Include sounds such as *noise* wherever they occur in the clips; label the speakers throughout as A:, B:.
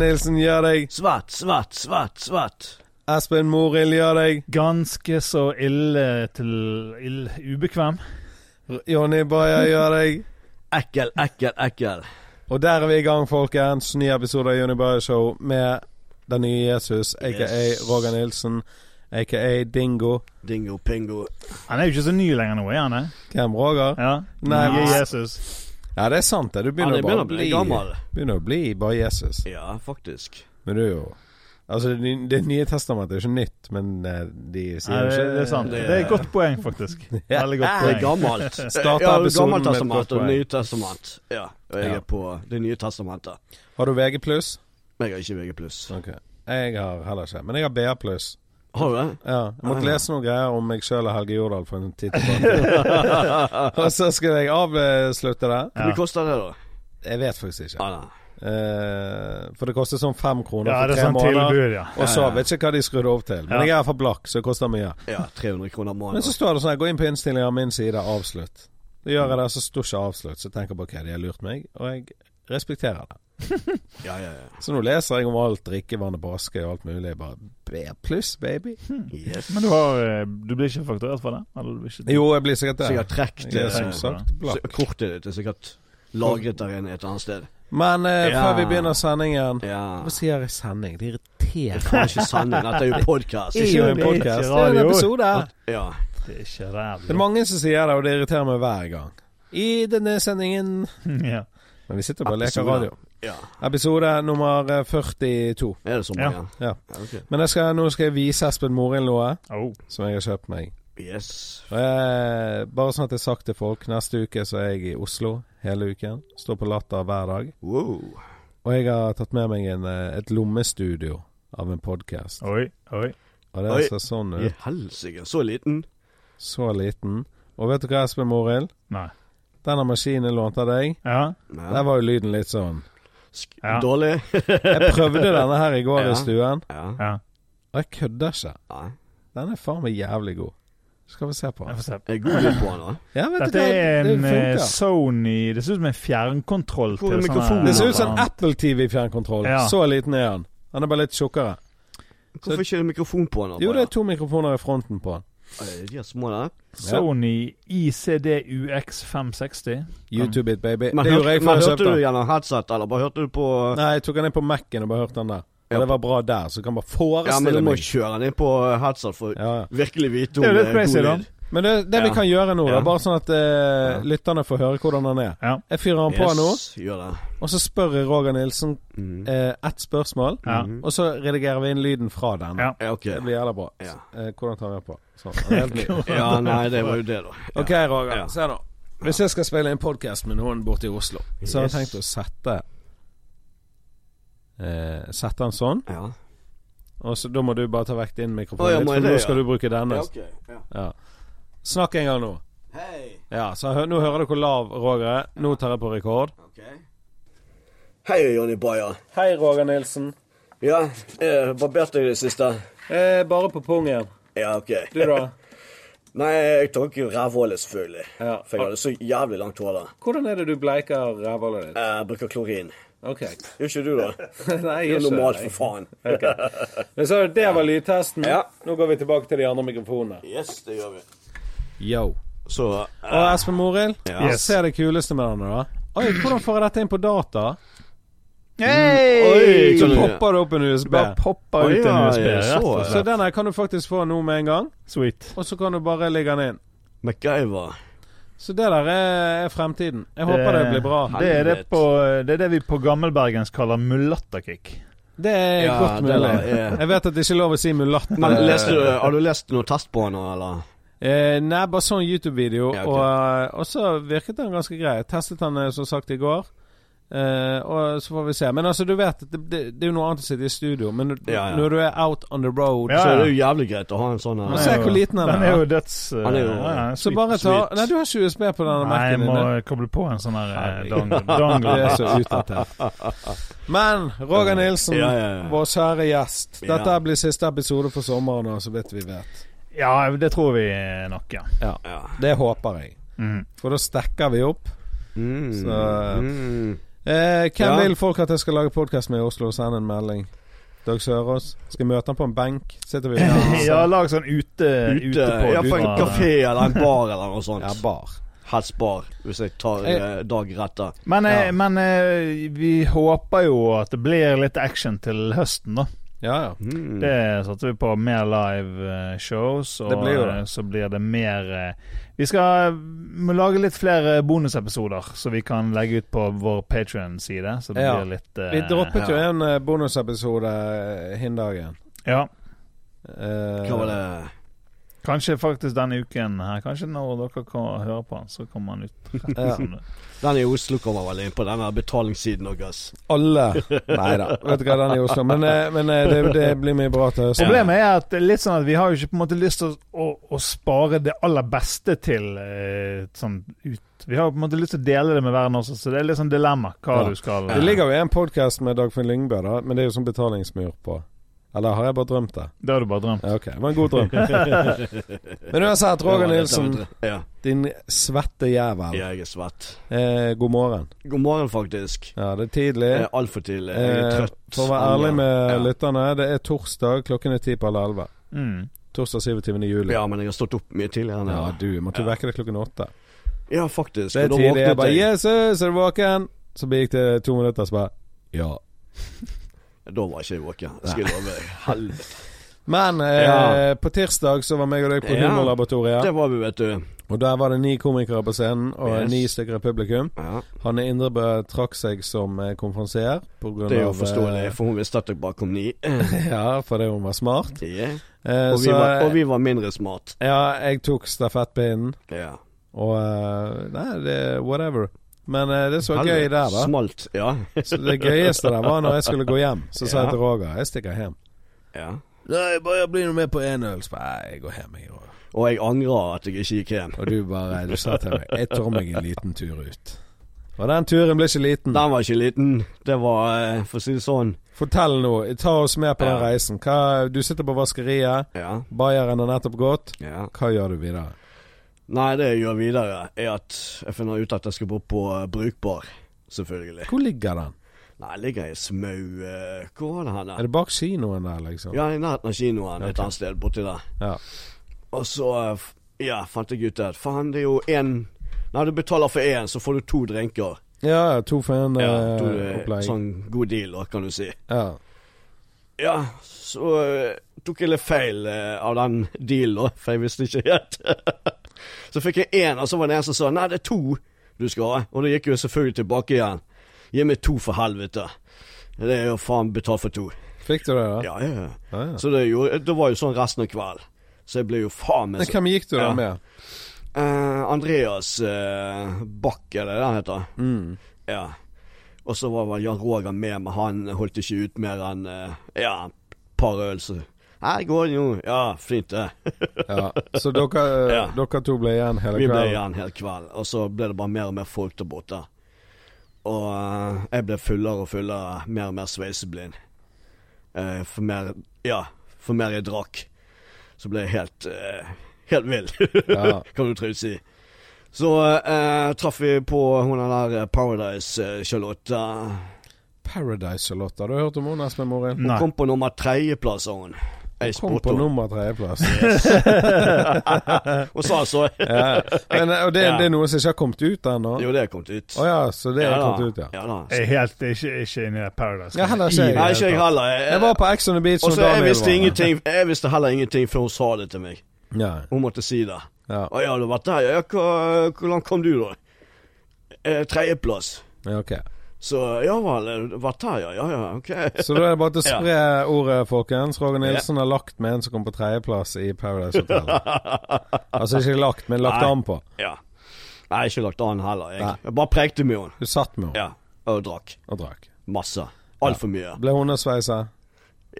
A: Nilsen gjør deg.
B: Svart, svart, svart, svart.
A: Espen Morild gjør deg.
C: Ganske så ille til ill, ubekvem.
A: R- Jonny Bayer gjør deg.
B: Ekkel, ekkel, ekkel.
A: Og der er vi i gang, folkens. Ny episode av Jonny Bayer Show med den nye Jesus, aka
B: Yes.
A: Roger Nilsen, aka Dingo.
B: Dingo pingo.
C: Han er jo ikke så ny lenger nå, er han det?
A: Hvem, Roger?
C: Ja.
A: Nei,
C: Nye
A: men-
C: Jesus.
A: Ja, det er sant, det. Du
B: Han
A: begynner,
B: er begynner å
A: bare
B: bli gammel.
A: Begynner å bli bare Jesus.
B: Ja, faktisk.
A: Men du er jo Altså, det, ny- det nye testamentet er ikke nytt, men eh, de sier
C: Nei,
A: jo
C: det,
A: ikke
C: det er sant.
B: det-
C: Det er et godt poeng,
A: *laughs*
C: faktisk. Veldig godt
B: Det er
C: poeng.
B: gammelt.
A: Starter
B: ja,
A: episoden med et
B: gammelt testament
A: godt
B: og
A: poeng.
B: Nye testament. Ja, og jeg
A: Ja.
B: er på Det nye testamentet.
A: Har du VG pluss?
B: Men jeg har ikke VG+.
A: Ok. Jeg har heller ikke, men jeg har BA pluss.
B: Har du det?
A: Ja, jeg måtte
B: Ah, ja.
A: lese noen greier om meg sjøl og Helge Jordal for en tid tilbake. og så skal jeg avslutte det.
B: Hvor mye koster det, da?
A: Jeg vet faktisk ikke.
B: Ah, nei.
A: Eh, for det koster sånn fem kroner
C: Ja,
A: for
C: det er
A: tre
C: sånn
A: måneder.
C: tilbud, ja.
A: Og så vet jeg ikke hva de skrudde opp til. Men
C: Ja.
A: jeg er iallfall blakk, så det koster mye.
B: Ja, 300 kroner
A: Men så
B: måneden.
A: står det sånn her, gå inn på innstillinger av min side, avslutt. Da gjør jeg det, så står ikke avslutt. Så jeg tenker jeg bare ok, de har lurt meg, og jeg respekterer det.
B: Ja, ja, ja.
A: Så nå leser jeg om alt drikkevannet på Askøy og alt mulig. Bare B pluss, baby.
B: Yes.
C: Men du, har, eh, du blir ikke fakturert for det? Eller du blir ikke
A: Jo, jeg blir sikkert det.
B: Sikkert trukket eh,
A: Jeg er som
C: det.
A: sagt blakk.
B: Så Kortet ditt er sikkert lagret der inne et annet sted.
A: Men eh,
B: Ja.
A: før vi begynner sendingen
B: Ja.
A: Hvorfor sier jeg sending? Det irriterer
B: Faen ikke sanning. Dette
A: *laughs*
B: er jo podkast.
A: Det er jo en
C: Det er ikke
A: podcast. Det er
C: radio.
A: en episode.
B: Ja.
C: Det er ikke
A: Det er
C: ræv.
A: mange som sier det, og det irriterer meg hver gang. I denne sendingen
C: *laughs* Ja.
A: Men vi sitter bare og leker
B: Episode.
A: radio.
B: ja.
A: Episode nummer eh, 42.
B: Er det så
C: Ja.
B: mange?
A: Ja.
B: ok.
A: Men jeg skal, nå skal jeg vise Espen Morild noe
C: Oh.
A: som jeg har kjøpt meg.
B: Yes.
A: Og jeg, bare sånn at jeg har sagt til folk, neste uke så er jeg i Oslo hele uken. Står på Latter hver dag.
B: Wow.
A: Og jeg har tatt med meg en, eh, et lommestudio av en podkast.
C: Oi, oi.
A: Og det
B: Oi.
A: ser sånn
B: I
A: ut.
B: helsike. Så liten.
A: Så liten. Og vet du hva, Espen Morild?
C: Nei.
A: Denne maskinen jeg lånte av deg,
C: Ja.
A: der
B: Ja.
A: var jo lyden litt sånn.
B: Sk
C: Ja.
B: Dårlig.
A: Jeg prøvde denne her i
C: *laughs*
A: går
B: Ja.
A: i stuen,
B: Ja.
C: ja.
A: og jeg kødder ikke.
B: Nei.
A: Den er faen meg jævlig god. Skal vi se på
C: Jeg
A: den.
C: får se.
B: Er det Eh, god lyd på den, da?
A: Ja, vet du
C: Dette
A: hva,
C: er
A: det
C: en eh,
A: funker.
C: Sony Det ser ut som en fjernkontroll
B: Hvor
C: til
B: er
C: sånne-
B: mikrofonen?
A: Det ser ut som
C: Ja.
A: en Apple TV-fjernkontroll.
C: Ja.
A: Så liten er den. Den er bare litt tjukkere.
B: Hvorfor ikke er det mikrofon på den? da, bare?
A: Jo, det er to mikrofoner i fronten på den.
B: Eh, De er små, der.
C: Sony ICDUX 560.
A: YouTube it, baby.
B: Men,
A: det gjorde jeg
B: hørte, men
A: før jeg
B: hørte
A: kjøpte
B: du
A: den.
B: gjennom headset, eller bare hørte du på
A: Nei, jeg tok den inn på Mac-en og bare hørte den der.
B: Ja.
A: Og det var bra der, så du kan bare
B: Ja, men du må
A: forestille meg.
B: kjøre den inn på headset for
A: Ja, ja.
B: virkelig vite om
C: Det er jo litt
B: eh,
C: crazy,
B: god
C: da.
B: lyd.
A: Men det, det vi
B: Ja.
A: kan gjøre nå, da,
B: Ja.
A: bare sånn at eh,
B: Ja.
A: lytterne får høre hvordan den er.
C: Ja.
A: Jeg fyrer den på nå,
B: Yes, gjør det.
A: og så spør jeg Roger Nilsen
B: Mm.
A: eh, ett spørsmål.
C: Ja. Mm.
B: Mhm.
A: Og så redigerer vi inn lyden fra den.
C: Ja.
B: Ja, ok.
A: Det blir jævla bra. S-
B: Ja.
A: Eh, hvordan tar vi på?
C: *laughs*
A: Sånn. det er helt ny.
B: Ja, nei, det var jo det, da. Ja.
A: OK, Roger.
B: Ja.
A: Se nå. Hvis jeg skal spille en podkast med noen borte i Oslo, så har jeg
B: Yes.
A: tenkt å sette eh, Sette den sånn,
B: Ja.
A: og så, da må du bare ta vekk din mikrofon.
B: Å, ja,
A: litt,
B: må
A: for
B: jeg det,
A: nå skal
B: ja?
A: du bruke denne.
B: ja,
A: Ja,
B: ok. Ja.
A: Snakk en gang nå.
B: Hei.
A: Ja, så hø Nå hører du hvor lav Roger er. Nå tar jeg på rekord.
B: Ok. Hei, Jonny Bayer.
A: Hei, Roger Nilsen.
B: Ja, eh, barberte deg i det siste?
A: Eh, bare på pungen.
B: Ja, OK.
A: Du,
B: *laughs*
A: da?
B: Nei, jeg tok jo rævhålet, selvfølgelig.
A: Ja.
B: For jeg hadde så jævlig langt hår da.
A: Hvordan er det du bleiker rævhullet ditt?
B: Jeg bruker klorin.
A: OK. *laughs*
B: Gjør ikke du, da?
A: Nei,
B: Det er
A: ikke
B: normalt,
A: det.
B: for faen.
A: Ok.
B: *laughs*
A: Men så det var lydtesten.
B: Ja.
A: Nå går vi tilbake til de andre mikrofonene.
B: Yes, det gjør vi.
A: Yo.
B: Så
A: Og Espen Morild,
B: Ja.
A: jeg ser det kuleste med denne, da. Oi, hvordan får jeg dette inn på data?
C: Hey!
A: Så
B: Oi.
A: popper det opp en USB.
C: Bare popper
B: Oi,
C: ut en
B: ja,
C: USB.
B: jeg
C: rett
B: så
C: og
B: det.
A: Så
C: slett.
A: den her kan du faktisk få nå med en gang,
C: Sweet.
A: og så kan du bare legge den inn.
B: MacGyver.
A: Så det der er, er fremtiden. Jeg håper det blir bra.
C: Det er det,
B: Helvete.
C: på, det er det vi på gammelbergensk kaller mullatterkick.
A: Det er
B: Ja,
A: godt
B: det
A: mulig.
B: der er-
A: Jeg vet at det ikke er lov å si mulatt.
B: Men leste du, har du lest noe test på den, eller?
A: Eh, nei, bare sånn YouTube-video.
B: Ja, ok.
A: og, og så virket den ganske grei. Jeg testet den eh, som sagt i går. Eh, og så får vi se. Men altså, du vet, det, det, det er jo noe annet å sitte i studio, men når-
B: Ja, ja.
A: når du er out on the road
C: Ja,
B: Så
A: så,
B: er det jo jævlig greit å ha en sånn
A: Men
B: her.
A: se hvor liten den
C: Den
A: er.
C: er jo døds... eh,
B: Han er jo-
C: ja, ja,
A: så
C: sweet.
A: bare ta
B: sweet.
A: Nei, du har ikke USB på denne
C: Nei, jeg
A: Mac-en
C: må
A: din.
C: koble på en sånn her eh,
A: Herregud.
C: dongle.
A: Du
C: dongle.
A: er så utdatert. Men Roger Nilsen,
B: Ja, ja, ja.
A: vår kjære gjest.
B: Ja.
A: Dette blir siste episode for sommeren, da, så vidt vi vet.
C: Ja, det tror vi nok, ja.
B: Ja.
A: Det håper jeg.
C: Mm.
A: For da stekker vi opp.
B: Mm.
A: Så-
B: Mm.
A: Eh, Eh, hvem
B: Ja.
A: vil folk at jeg skal lage podkast med i Oslo? Send en melding. Dag Sørås. Skal møte han på en benk.
B: *laughs*
A: Sitter vi
C: Ja, lag sånn ute,
B: Ute,
C: på
B: ja, på en
C: uten-
B: kafé eller en bar eller noe sånt.
A: Ja, bar.
B: Helst bar, hvis jeg tar
A: Jeg-
B: eh, dag etter.
C: Men, eh,
B: Ja.
C: men eh, vi håper jo at det blir litt action til høsten, da.
A: Ja, ja.
B: Mm.
C: Det satser vi på. Mer live eh, shows, og
A: Det blir jo det.
C: eh, så blir det mer eh, Vi skal eh, lage litt flere bonusepisoder, så vi kan legge ut på vår Patrion-side. Så det
A: Ja.
C: blir litt eh,
A: Vi droppet jo
B: ja.
A: en eh, bonusepisode eh, hin dagen.
C: Ja.
A: Eh,
B: Hva var det
C: Kanskje faktisk denne uken her. Kanskje når dere kan høre på den, så kommer den ut. Sånn. rett
A: *laughs* Ja.
C: som det.
B: Den i Oslo kommer vel inn på den der betalingssiden deres.
A: Alle Nei da, vet du hva, den er i Oslo. Men, eh, men eh, det, det blir mye bra til høsten.
C: Problemet er at det er litt sånn at vi har jo ikke på en måte lyst til å, å, å spare det aller beste til eh, sånn ut. Vi har jo på en måte lyst til å dele det med verden også, så det er litt sånn dilemma hva
A: Ja.
C: du skal
A: Det ligger jo en podkast med Dagfinn Lyngbø, da, men det er jo sånn betalingsmur på. Eller har jeg bare drømt det?
C: eh, Det har du bare drømt.
A: Ja, ok, det var en god drøm. men uansett, Roger Nilsen,
B: Ja,
A: din svette jævel.
B: jeg er svett.
A: Eh, god morgen.
B: God morgen, faktisk.
A: Ja, det er tidlig.
B: Jeg er altfor tidlig. Jeg er
A: Eh,
B: trøtt.
A: For å være ærlig med
B: Ja.
A: lytterne, det er torsdag klokken er ti på halv elleve.
C: Mm.
A: Torsdag 27. juli.
B: Ja, men jeg har stått opp mye tidligere enn
A: Ja,
B: jeg
A: du måtte vekke deg klokken åtte.
B: Ja, faktisk. Og
A: Det er
B: da
A: tidlig.
B: våknet
A: Jeg bare
B: jeg.
A: 'Jesus, er du våken?' Så gikk det to minutter, så bare Ja.
B: Da var ikke jeg våken. Jeg skal love
A: *laughs*
B: deg. Helvete.
A: Men eh,
B: Ja.
A: på tirsdag så var meg og deg på
B: Ja.
A: Humorlaboratoriet.
B: Det var vi, vet du.
A: Og der var det ni komikere på scenen, og
B: Yes.
A: ni stykker i publikum.
B: Ja.
A: Hanne Indrebø trakk seg som eh, konferansier på grunn av
B: Det er jo
A: eh,
B: forståelig, for hun visste at jeg bare kom ni. *laughs*
A: *laughs* Ja, fordi hun var smart.
B: Ja.
A: Eh,
B: Og vi
A: så eh,
B: var, og vi var mindre smart.
A: ja, jeg tok stafettpinnen.
B: Ja.
A: Og eh, Nei, det whatever. Men eh, det er så gøy
B: Helvete.
A: *laughs* der, da.
B: Smalt. Ja. *laughs*
A: Så det gøyeste der var når jeg skulle gå hjem. Så sa
B: Ja.
A: jeg til Roger jeg stikker hjem.
B: ja.
A: Nei, bare bli nå med på én øl. Så bare jeg går hjem, jeg òg.
B: Og jeg angrer at jeg ikke gikk hjem.
A: Og du bare Du sa til meg jeg tar meg en liten tur ut. Og den turen ble ikke liten.
B: Den var ikke liten. Det var, eh, for å si det sånn
A: Fortell nå. Ta oss med på den
B: Ja.
A: reisen. Hva, du sitter på vaskeriet.
B: Ja.
A: Bayeren har nettopp gått.
B: ja.
A: Hva gjør du videre?
B: Nei, det jeg gjør videre, er at jeg finner ut at jeg skal bo på eh, Brukbar. Selvfølgelig.
A: Hvor ligger den?
B: Nei, ligger jeg i Smau eh, Hvor var det hen? da?
A: Er det bak kinoen der, liksom?
B: Ja, i nærheten av kinoen
A: Ok.
B: et annet sted borti der.
A: Ja.
B: Og så eh, f- ja, fant jeg ut at faen, det er jo én Når du betaler for én, så får du to drinker.
A: Ja, ja, to for en
B: Ja,
A: eh,
B: to, eh,
A: opplegg.
B: sånn god deal, da, kan du si.
A: Ja.
B: Ja, så eh, tok jeg litt feil eh, av den dealen, da, for jeg visste ikke helt. *laughs* så fikk jeg én, og så var det en som sa nei, det er to du skal ha. Og da gikk jeg selvfølgelig tilbake igjen. Gi meg to, for helvete. Det er jo faen betalt for to.
A: Fikk du det, da?
B: Ja, ja, ja.
A: Ja, ja.
B: Så det, gjorde, det var jo sånn resten av kvelden. Så jeg ble jo faen meg
A: Men
B: så
A: hvem gikk du da
B: Ja.
A: med?
B: Eh, Andreas uh, Bakk, er det det han heter?
A: Mm.
B: Ja. Og så var vel Jan Roger med, men han holdt ikke ut mer enn eh, ja, et par øl. Så her går det jo. Ja, fint det.
A: Ja. Så dere, eh,
B: Ja.
A: dere to ble igjen hele
B: Vi ble
A: kvelden?
B: igjen hele kvelden, og så ble det bare mer og mer folk der borte. Og eh, jeg ble fullere og fullere, mer og mer sveiseblind. Eh, for mer Ja, for mer jeg drakk, så ble jeg helt eh, Helt vill,
A: Ja.
B: kan du trygt si. Så eh, traff vi på hun der eh, Paradise eh, Charlotte.
A: Paradise Charlotte, har du hørt om henne, Espen Morin?
B: Hun
C: Nei.
B: kom på nummer tredjeplass, sa hun. Jeg
A: Kom
B: spurte
A: på
B: henne.
A: nummer
B: *laughs*
A: tredjeplass.
B: Hun sa
A: *laughs*
B: så
A: Ja. Men, eh, Og det,
B: Ja.
A: det er noen som ikke har kommet ut ennå? Å
B: Jo, det kom ut.
A: ja, så det er
B: da.
A: kommet ut, ja.
B: ja da.
C: Jeg er helt ikke, ikke inne i Paradise.
A: Ja, heller ikke jeg.
B: Nei, ikke jeg heller. Jeg-
A: Jeg var på Ex on the Beach
B: Og
A: når
B: så jeg
A: Daniel
B: visste
A: var der.
B: ingenting Jeg visste heller ingenting før hun sa det til meg.
A: Ja.
B: Hun måtte si det.
A: Ja.
B: Å ja, du har vært der? Ja, hva- hvor langt kom du, da? Eh, Tredjeplass.
A: ja, ok.
B: Så ja vel, eh, du har vært der, ja. Ja ja, ok. *laughs*
A: Så da er det bare til å spre ordet, folkens. Roger Nilsen har lagt med en som kom på tredjeplass i Paradise Hotel. Altså ikke lagt, men lagt
B: Nei.
A: an på.
B: Ja. Nei, ikke lagt an heller. Jeg,
A: Nei.
B: jeg bare prekte med henne.
A: Du satt med henne
B: Ja. Og drakk.
A: og drakk.
B: Masse. Altfor mye.
A: Ble hundesveisa.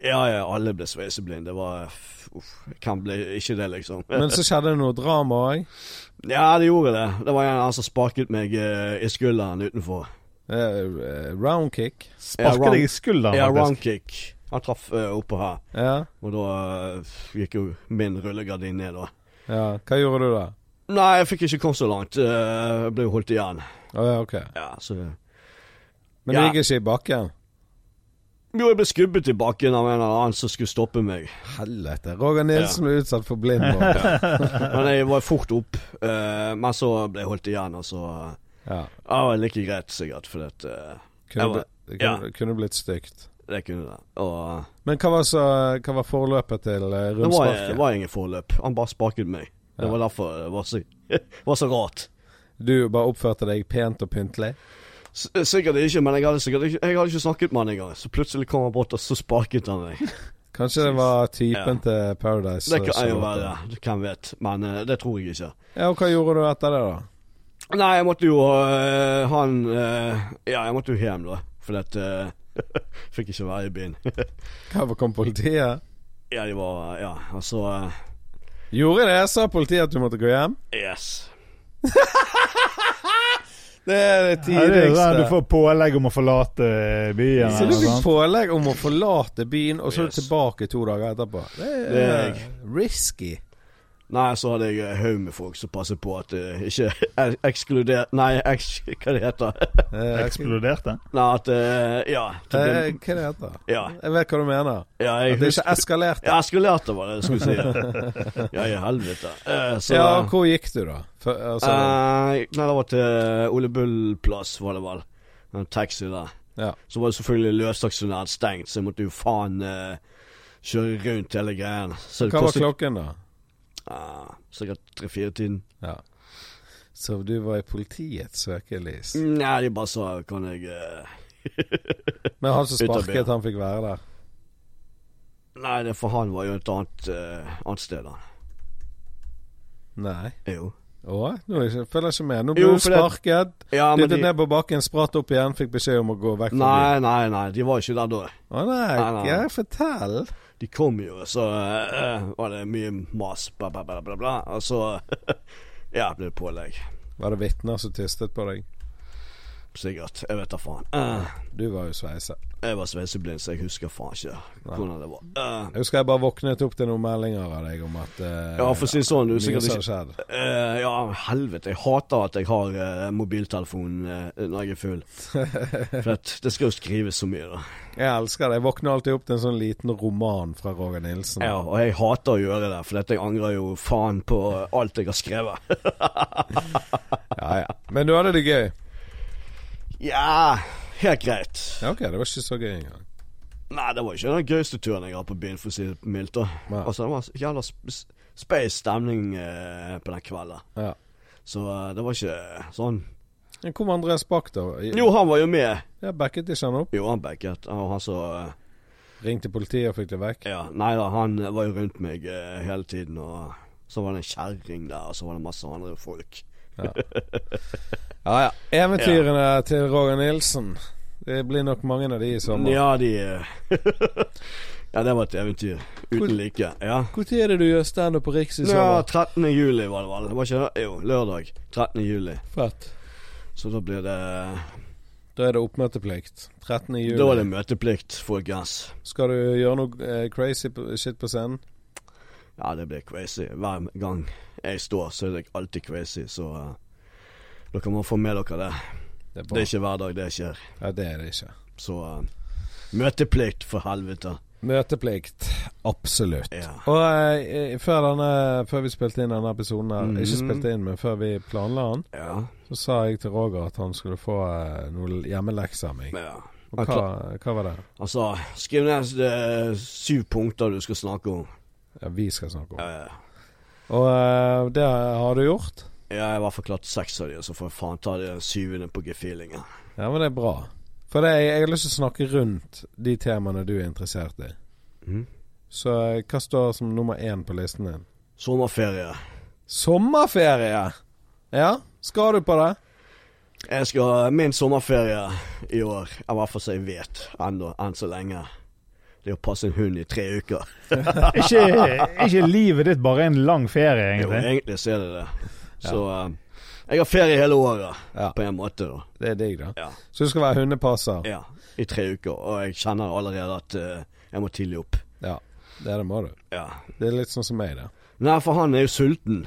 B: Ja ja, alle ble sveiseblinde. Det var f- Uff. Hvem ble ikke det, liksom?
A: Men så skjedde det noe drama òg.
B: Ja, det gjorde det. Det var en han som sparket meg eh, i skulderen utenfor.
A: Eh, Roundkick.
B: Ja,
C: Sparker
B: round-
C: deg i skulderen,
B: Ja,
C: faktisk.
B: roundkick. Han traff eh, oppå her.
A: Ja.
B: Og da eh, gikk jo min rullegardin ned, da.
A: ja. Hva gjorde du da?
B: Nei, jeg fikk ikke kommet så langt. eh, Jeg ble jo holdt igjen.
A: Å ja, ok.
B: Ja, så
A: Men
B: Ja.
A: du ligger ikke i bakken?
B: Jo, jeg ble skubbet i bakken av en eller annen som skulle stoppe meg.
A: Helvete. Roger Nilsen ble utsatt for blindvoll.
B: *laughs* Men jeg var fort opp. eh, men så ble jeg holdt igjen, og så eh, Ja,
A: Ja.
B: det var like greit, sikkert, for at, eh,
A: Kunne,
B: Jeg var-
A: bli-
B: ja.
A: kunne, kunne blitt stygt.
B: det kunne det. Og
A: Men hva var, så, hva var forløpet til
B: det
A: eh,
B: var, det
A: rundsparket?
B: var ingen forløp. Han bare sparket meg. Det
A: Ja.
B: var derfor det var så, *laughs* var så rart.
A: Du bare oppførte deg pent og pyntelig?
B: S sikkert ikke, men jeg hadde, sikkert ikke, jeg hadde ikke snakket med han engang. Så plutselig kom han bort, og så sparket han meg.
A: Kanskje det var
B: Ja.
A: typen til Paradise?
B: Det kan
A: som
B: jo
A: var
B: være. Hvem vet. Men eh, det tror jeg ikke.
A: Ja, og hva gjorde du etter det, da?
B: Nei, jeg måtte jo øh, Han øh, Ja, jeg måtte jo hjem, da. Fordi at øh, *laughs* Fikk ikke være i byen. *laughs*
A: Hva kom politiet?
B: ja, de var Ja, og så øh,
A: Gjorde det? Sa politiet at du måtte gå hjem?
B: Yes.
A: Det er det
C: Ja, det er jo der du
A: tidligste.
C: får pålegg om å forlate byen.
A: Så du
C: eller sånn.
A: fikk
C: sant?
A: pålegg om å forlate byen, og så er du
B: Yes.
A: tilbake to dager etterpå. Det
B: Det
A: er
B: er
A: risky.
B: Nei, så hadde jeg en haug med folk som passet på at øh, ikke *laughs* ek- ekskludert Nei, eks... *laughs* Hva det heter
A: Eh, *laughs*
C: Eksploderte?
B: Nei, at øh, Ja.
A: eh, Hva
B: det
A: er
B: ble-
A: det heter?
B: ja,
A: Jeg vet hva du mener.
B: ja, jeg
A: At det ikke
B: husker
A: eskalerte.
B: ja, eskalerte, var det jeg skulle si.
A: *laughs*
B: Ja, i helvete. Eh, så
A: Ja, hvor gikk du, da? For, altså,
B: Eh, nei, det var til Ole Bull plass, var det vel. En taxi der.
A: Ja.
B: Så var det selvfølgelig løsdagsjournal stengt, så jeg måtte jo faen eh, kjøre rundt hele greien. Så det
A: hva var
B: kostet
A: klokken, da?
B: Ah, sikkert tre-fire-tiden.
A: Ja. Så du var i politiets søkelys.
B: Nei, de bare sa kan jeg eh,
A: Men han som
B: Ut av
A: sparket, han fikk være der.
B: Nei, det for han var jo et annet, eh, annet sted, da.
A: Nei.
B: Jo.
A: Å? Nå er jeg ikke- følger jeg ikke med. Nå
B: Jo,
A: ble du
B: for det-
A: sparket.
B: Ja, men
A: Dyttet
B: de
A: ned på bakken, spratt opp igjen, fikk beskjed om å gå vekk fra byen.
B: Nei, nei, nei, de var ikke der da.
A: Å nei,
B: Nei, nei.
A: ja, fortell.
B: De kom jo, og så eh, eh, var det mye mas, bla, bla, bla, bla, bla. Og så *laughs* Ja, ble det pålegg.
A: Var det vitner som tistet på deg?
B: Sikkert. Jeg vet da faen. Eh,
A: Du var jo sveiset.
B: Jeg var sveiseblind, så jeg husker faen ikke hvordan det var. Eh,
A: Jeg husker jeg bare våknet opp til noen meldinger av deg om at eh,
B: ja, for å si det sånn, du
A: mye
B: sikkert
A: som har
B: ikke
A: skjedd.
B: Eh, Ja, helvete. Jeg hater at jeg har eh, mobiltelefon eh, når jeg er
A: *laughs*
B: full. For at det skal jo skrives så mye, da.
A: Jeg elsker det. Jeg våkner alltid opp til en sånn liten roman fra Roger Nilsen.
B: Ja, og jeg hater å gjøre det, for at jeg angrer jo faen på alt jeg har skrevet. *laughs*
A: Ja, ja. Men du hadde det gøy?
B: Ja, helt greit.
A: Ja, ok, det var ikke så gøy engang.
B: Nei, det var ikke den gøyeste turen jeg har på byen, for å si det mildt. da.
A: Nei.
B: Altså, det var en jævla sp- s- space stemning eh, på den kvelden.
A: Ja.
B: Så eh, det var ikke sånn
A: Men Hvor var Andreas Bach, da? I-
B: Jo, han var jo med.
A: Ja, Backet ikke han opp?
B: Jo, han backet. Og han så eh,
A: Ringte politiet og fikk det vekk?
B: Ja, nei da, han eh, var jo rundt meg eh, hele tiden, og så var det en kjerring der, og så var det masse andre folk.
A: Ja ja. Eventyrene til Roger Nilsen. Det blir nok mange av de i sommer.
B: Ja, de eh, *laughs* Ja, det var et eventyr
A: Hvor-
B: uten like. Ja.
A: Når er det du gjør standup på Riks i
B: Ja,
A: sommer?
B: 13. juli var det vel? Det var ikke det? Jo, lørdag. 13. juli.
A: Fett.
B: Så da blir det
A: Da er det oppmøteplikt. 13. juli.
B: Da er det møteplikt, folkens.
A: Skal du gjøre noe eh, crazy på- shit på scenen?
B: Ja, det blir crazy. Hver gang jeg står, så er det alltid crazy, så eh, da kan man få med dere det.
A: Det er
B: Det
A: bra.
B: er ikke hver dag det skjer.
A: Ja, det er det ikke.
B: Så eh, møteplikt, for helvete.
A: Møteplikt. Absolutt.
B: Ja.
A: Og eh, før, denne, før vi spilte inn denne episoden her,
B: Mhm.
A: ikke spilte inn, men før vi planla den,
B: Ja.
A: så sa jeg til Roger at han skulle få eh, noen hjemmelekser av meg.
B: ja.
A: Og hva, hva var det?
B: Altså, skriv ned eh, syv punkter du skal snakke om.
A: Ja, vi skal snakke om.
B: Eh,
A: Og eh, det har du gjort.
B: jeg har i hvert fall klart seks av dem, så får jeg faen ta det syvende på gefillingen.
A: Ja, men det er bra. For det, jeg har lyst til å snakke rundt de temaene du er interessert i.
B: Mhm.
A: Så eh, hva står som nummer én på listen din?
B: Sommerferie.
A: Sommerferie! Ja, skal du på det?
B: Jeg skal Min sommerferie i år, i hvert fall så jeg vet ennå, enn så lenge, det er å passe en hund i tre uker.
C: Ikke, ikke livet ditt bare en lang ferie,
B: Jo,
C: egentlig?
B: egentlig så er det det. Så eh, jeg har ferie hele året,
A: Ja.
B: på en måte, da.
A: Det er digg, da.
B: Ja.
A: Så du skal være hundepasser?
B: ja. I tre uker. Og jeg kjenner allerede at eh, jeg må tidlig opp.
A: Ja, det er det må du.
B: Ja.
A: Det er litt sånn som meg, det.
B: Nei, for han er jo sulten.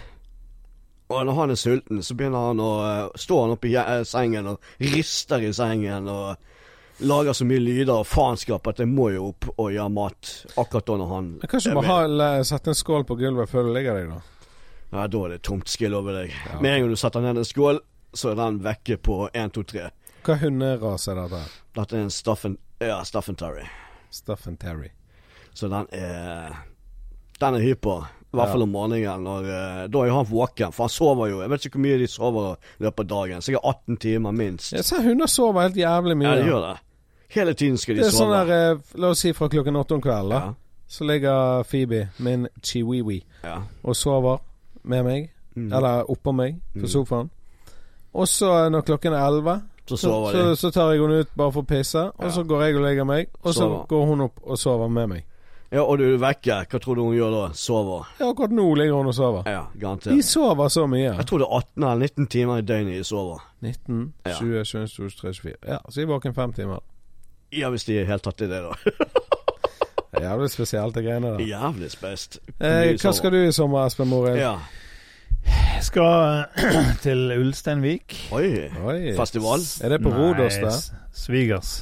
B: Og når han er sulten, så begynner han å eh, Står han oppe i eh, sengen og rister i sengen og lager så mye lyder og faenskap at jeg må jo opp og gjøre mat akkurat da når han
A: Men Kan ikke
B: er med.
A: du bare ha, la- sette en skål på gulvet før du legger deg, da?
B: Ja, da er det tomt, skal jeg love deg. Med en gang du setter ned en skål, så er den vekke på 1, 2, 3.
A: Hva hunderas er dette? her?
B: Dette er en Staffen... Ja, Staffen Terry.
A: Stuff and Terry.
B: Så den er Den er hyper. I hvert
A: Ja.
B: fall om morgenen. Når, eh, da er jo han våken, for han sover jo. Jeg vet ikke hvor mye de sover i løpet av dagen. Sikkert 18 timer minst.
A: Jeg ser hunder sover helt jævlig mye.
B: Ja, de gjør det. Hele tiden skal
A: Det
B: de
A: er sånn
B: sove.
A: der, eh, La oss si fra klokken åtte om kvelden, da.
B: Ja.
A: Så ligger Phoebe, min chiwiwi,
B: Ja.
A: og sover med meg.
B: Mm.
A: Eller oppå meg på sofaen. Og så eh, når klokken er elleve,
B: Så
A: så,
B: sover
A: så,
B: de.
A: så tar jeg henne ut bare for å pisse. Og
B: Ja.
A: så går jeg og legger meg, og så
B: Sover.
A: går hun opp og sover med meg.
B: Ja, og du er vekke. Hva tror du hun gjør da? Sover.
A: Ja, akkurat nå ligger hun og sover.
B: Ja, garantert.
A: De sover så mye.
B: Jeg tror det er 18 eller 19 timer i døgnet de sover.
A: 19,
B: Ja.
A: 20, 21, 22, 23, 24. Ja, så jeg er våken fem timer.
B: Ja, hvis de i det hele tatt er det, da.
A: Det er jævlig spesielt, de greiene der.
B: Jævlig spest.
A: Eh, hva skal du i sommer, Espen Morild?
B: Ja.
C: Jeg skal eh, *clears throat* til Ulsteinvik.
B: Oi.
A: Oi.
B: Festival?
A: Er det på Rodos,
C: Nei,
A: det?
C: s- Svigers.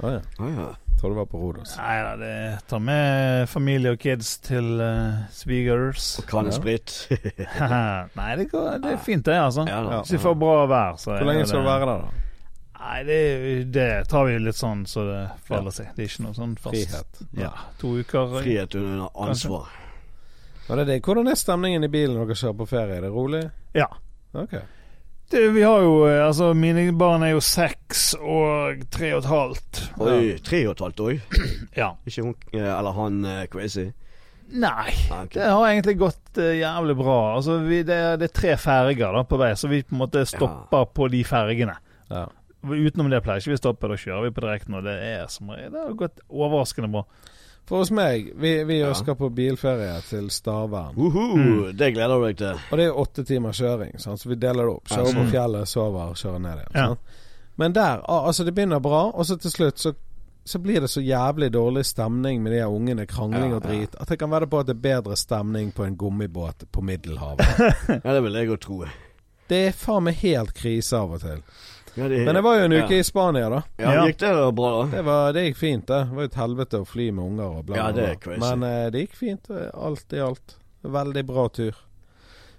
A: Å ja.
B: Å ja.
A: Tror det var på Rodos.
C: Nei da, det tar med familie og kids til eh, svigers. *laughs*
B: Og Kan
A: Ja.
B: en sprit.
C: Nei, det, går, det er fint, det, altså.
B: Ja da.
C: Hvis vi får bra vær, så er
A: Ah. Hvor lenge skal du
C: det-
A: være der, da?
C: Nei, det, det tar vi litt sånn så det faller seg. Det er ikke noe sånn fast.
A: Frihet.
C: Ja, to uker.
B: *laughs*
C: eh,
B: Frihet under ansvar.
A: Ja, det er det. Hvordan er stemningen i bilen når dere kjører på ferie? Er det rolig?
C: Ja.
A: Ok.
C: Det, vi har jo eh, Altså, mine barn er jo seks og tre og et halvt.
B: Oi, tre og et halvt år.
C: Ja.
B: Ikke hun eh, eller han eh, crazy?
C: Nei.
B: Ah, ok.
C: Det har egentlig gått eh, jævlig bra. Altså, vi, det, er- det er tre ferger da på vei, så vi på en måte stopper på de fergene.
A: Ja.
C: Utenom det pleier ikke vi å stoppe, da kjører vi på direkten, og det er som regel Det har gått overraskende bra.
A: For hos meg, vi, vi
B: Ja.
A: skal på bilferie til Stavern.
B: Uhu,
A: Mm.
B: Det gleder du deg
A: *laughs*
B: til.
A: Og det er åtte timer kjøring, sant? så vi deler det opp. Kjører
C: Ja,
A: på
C: sånn.
A: fjellet, sover, kjører ned igjen.
C: Ja.
A: Sant? Men der, al- altså det begynner bra, og så til slutt så, så blir det så jævlig dårlig stemning med de her ungene, krangling
B: Ja,
A: og drit, at jeg kan vedde på at det er bedre stemning på en gummibåt på Middelhavet.
B: Ja, det vil jeg òg tro.
A: Det er faen meg helt krise av og til.
B: Ja, det,
A: Men jeg var jo en
B: ja.
A: uke i Spania, da.
B: Ja,
C: Ja.
B: Gikk det da bra, da?
A: Det, var, det gikk fint, det. Det var jo et helvete å fly med unger og bla, bla,
B: Ja, det er
A: bla.
B: crazy.
A: Men eh, det gikk fint, eh, alt i alt. Veldig bra tur.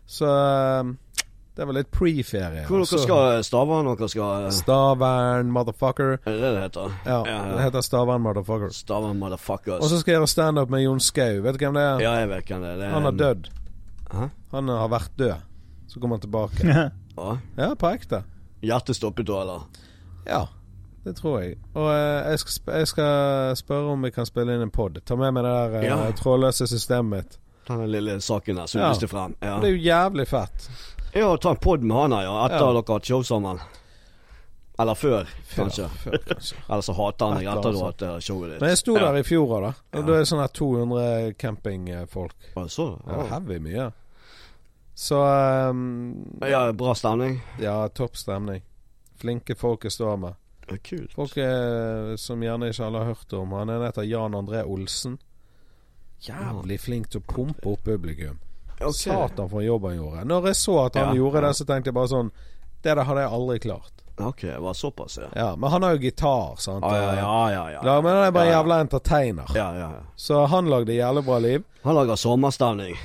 A: Så eh, det var litt pre-ferie.
B: Hvor
A: og så-
B: dere skal eh, Stavern? Dere skal eh,
A: Stavern, motherfucker.
B: Er det det det heter?
A: Ja, det heter Stavern, motherfucker.
B: Stavern motherfuckers.
A: Og så skal jeg gjøre standup med Jon Skau. Vet du hvem det er?
B: ja, jeg vet hvem det er. Det er
A: Han har
B: en-
A: dødd.
B: Hæ?
A: Han har vært død. Så kommer han tilbake.
C: ja,
B: Ja.
A: Ja, på ekte.
B: Hjertet stoppet da, eller?
A: Ja, det tror jeg. Og eh, jeg, skal, sp- jeg skal spørre om vi kan spille inn en pod. Ta med meg det der eh,
B: Ja.
A: trådløse systemet mitt.
B: Den lille saken der som
A: Ja.
B: du viste frem. Ja.
A: Det er jo jævlig fett.
B: Ja, ta en pod med han her, ja. Etter
A: Ja.
B: dere har hatt show sammen. Eller før, kanskje.
A: Før, kanskje.
B: Eller så hater han deg
A: Etter,
B: etter du
A: altså.
B: har hatt eh, showet ditt.
A: Men jeg sto
B: Ja.
A: der i fjor òg, da. Og
B: Ja.
A: Da er det sånn her 200 campingfolk.
B: Å, Så,
A: Det
B: ja.
A: var heavy mye. Så ehm,
B: ja, bra stemning.
A: Ja, topp stemning. Flinke folk jeg står med.
B: Ja, Kult.
A: Folk eh, som gjerne ikke alle har hørt om. Han ene heter Jan André Olsen. Jævlig flink til å pumpe opp publikum.
B: Ok.
A: Satan for en jobb han gjorde. Når jeg så at han
B: Ja,
A: gjorde
B: ja.
A: det, så tenkte jeg bare sånn Det der hadde jeg aldri klart.
B: Ok, det var såpass, ja.
A: Ja, Men han har jo gitar, sant.
B: Ja, ja, ja. ja, ja.
A: Ja, men han er bare
B: Ja,
A: en
B: ja.
A: jævla entertainer.
B: Ja, ja, ja.
A: Så han lagde jævlig bra liv.
B: Han lager sommerstemning.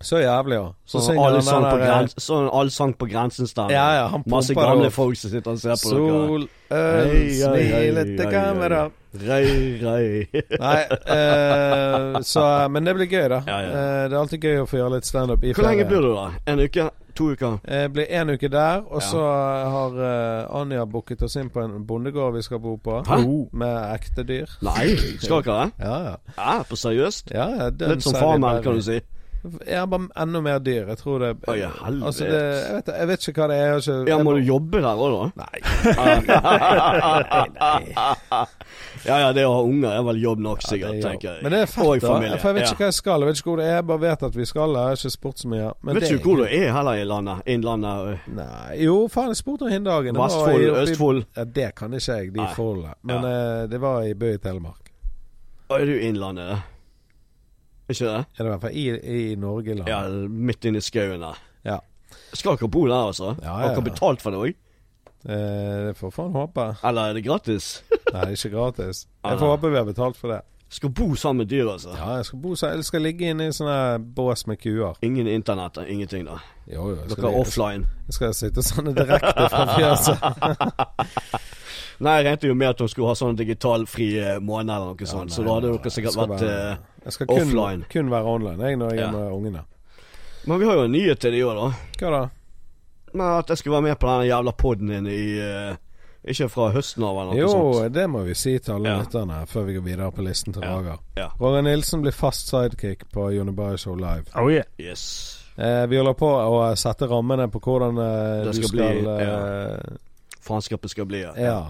A: Så jævlig, ja. Så
B: Sånn allsang på, grens, sånn allsang på grensen-stemning.
A: eh, Ja, ja, han
B: Masse
A: pumper
B: gamle
A: det opp.
B: folk som sitter og ser på dere.
A: Sol, øl,
B: Hei, hei, hei, hei,
A: smilete
B: hei.
A: kamera.
B: Rei,
A: *laughs*
B: rei.
A: Nei, eh, så, men det blir gøy, da.
B: Ja, ja.
A: Eh, det er alltid gøy å få gjøre litt standup i
B: Hvor lenge
A: ferien.
B: blir du da? En uke? To uker?
A: Eh, blir én uke der, og
B: Ja.
A: så har eh, Anja booket oss inn på en bondegård vi skal bo på.
B: Hæ?
A: Med ekte dyr.
B: Nei, skal dere det?
A: Ja, ja.
B: Ja, på seriøst?
A: ja, ja den
B: Litt som
A: ser vi
B: farmen,
A: bare-
B: kan du si.
A: Ja, bare enda mer dyr. Jeg tror det
B: Å, ja, helvete.
A: Altså, det, jeg, vet, jeg vet ikke hva det er. Jeg har ikke
B: Ja,
A: jeg
B: må
A: må-
B: du jobbe der òg, da?
A: Nei.
B: *laughs* Ja ja, det å ha unger er vel jobb nok,
A: det
B: sikkert,
A: er jobb.
B: tenker jeg.
A: Men det er
B: Og
A: fett, da.
B: familie.
A: For jeg vet
B: ja.
A: ikke hva jeg skal. Jeg vet ikke hvor det er. Jeg bare vet at vi skal. Jeg har ikke spurt så mye. Men
B: Vet du
A: det er
B: hvor
A: gøy.
B: du er heller i landet? Innlandet? ø,
A: Nei Jo, faen, jeg spurte om hin dagen. Det var
B: eh, Vestfold?
A: i- oppi-
B: Østfold?
A: Ja, det kan ikke jeg, de
B: Nei.
A: forholdene. Men eh, det var i Bø i Telemark.
B: Å, Er du i Innlandet? da? Ikke det?
A: Eller i hvert fall i, i Norge land.
B: Ja, midt inne i skauen der.
A: Ja.
B: Skal dere bo der, altså?
A: Ja, ja,
B: Har
A: ja.
B: dere betalt for det òg?
A: Eh, Det får faen håpe.
B: Eller er det
A: *laughs*
B: gratis?
A: Nei, ikke gratis.
B: *laughs* Ah.
A: Jeg får håpe vi har betalt for det.
B: Skal bo sammen med dyr, altså.
A: Ja, jeg skal, bo, så- jeg skal ligge inne i sånne bås med kuer.
B: Ingen internett, da. ingenting, da.
A: Jo, jo.
B: Dere
A: Jeg
B: er
A: skal,
B: offline.
A: jeg skal sitte sånn direkte fra fjeset.
B: *laughs* Nei, jeg regnet jo med at de skulle ha sånn digital fri eh, måned eller noe sånt, så
A: nei,
B: da hadde
A: nei,
B: dere
A: jeg
B: sikkert
A: skal
B: vært
A: være-
B: eh,
A: Jeg skal kun,
B: offline.
A: kun være online jeg, når jeg
B: Ja.
A: er med ungene.
B: Men vi har jo en nyhet til det i år, da.
A: Hva da?
B: Men at jeg skulle være med på denne jævla poden din i eh, Ikke fra høsten av eller noe
A: Jo,
B: sånt.
A: det må vi si til alle
B: Ja.
A: lytterne før vi går videre på listen til
B: Ja.
A: Roger.
B: Ja.
A: Roger Nilsen blir fast sidekick på Jonibari Show Live.
C: Oh, yeah.
B: Yes.
A: Eh, vi holder på å sette rammene på hvordan eh,
B: Det
A: du
B: skal
A: skal
B: bli,
A: eh,
B: Faenskapet skal bli, ja.
A: ja.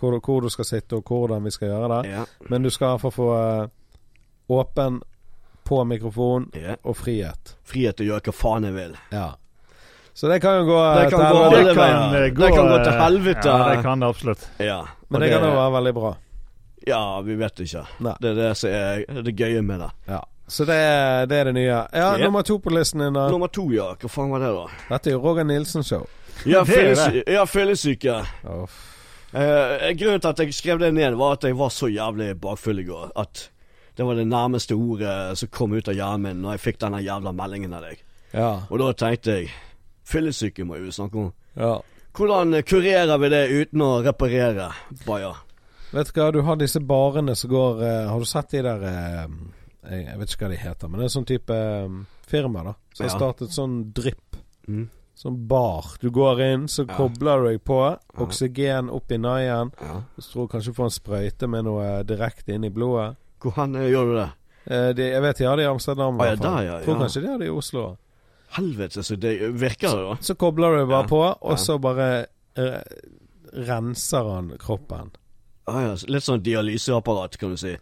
A: Hvor, hvor du skal sitte, og hvordan vi skal gjøre det.
B: Ja.
A: Men du skal iallfall få eh, åpen på mikrofon
B: ja.
A: og frihet.
B: Frihet til å gjøre hva faen jeg vil.
A: Ja. Så det kan jo gå eh,
B: Det kan
A: til
B: gå
A: helvete.
B: alle
C: Det kan,
B: veier.
C: eh,
B: Det kan gå til
C: eh,
B: helvete.
C: Ja, det kan det absolutt.
B: Ja.
A: Men det kan jo være veldig bra.
B: Ja, vi vet ikke.
A: Nei.
B: Det er det som er det gøye med det.
A: Ja. Så det er det, er det nye. Ja,
B: Yep.
A: nummer to på listen din. da.
B: Nummer to, ja. Hva faen var det, da?
A: *laughs* Dette er jo Roger Nilsen-show.
B: Ja,
C: Det er det.
B: fyllesyke. Ja, fyllesyke. Eh, grunnen til at jeg skrev det ned, var at jeg var så jævlig bakfull i går. At det var det nærmeste ordet som kom ut av hjernen min når jeg fikk denne jævla meldingen av deg.
A: Ja.
B: Og da tenkte jeg Fyllesyke må vi snakke om.
A: ja.
B: Hvordan kurerer vi det uten å reparere? Baja.
A: Vet du hva, du har disse barene som går eh, Har du sett de der eh, jeg, jeg vet ikke hva de heter, men det er sånn type eh, firma da som har
B: Ja.
A: startet sånn drypp.
B: Mm.
A: Sånn bar. Du går inn, så
B: Ja.
A: kobler du deg på. Oksygen opp i naien. Så tror jeg kanskje du får en sprøyte med noe direkte inn i blodet.
B: Hvor hen eh, gjør du det?
A: Eh, de, jeg vet de har det i Amsterdam. i
B: Ah, ja,
A: hvert fall.
B: der, ja,
A: Tror
B: ja.
A: kanskje de har det i Oslo.
B: Helvete, så det virker det, da.
A: Så kobler du bare
B: Ja.
A: på,
B: Ja.
A: og så bare eh, renser han kroppen.
B: Ah, ja. så Litt sånn dialyseapparat, kan du si.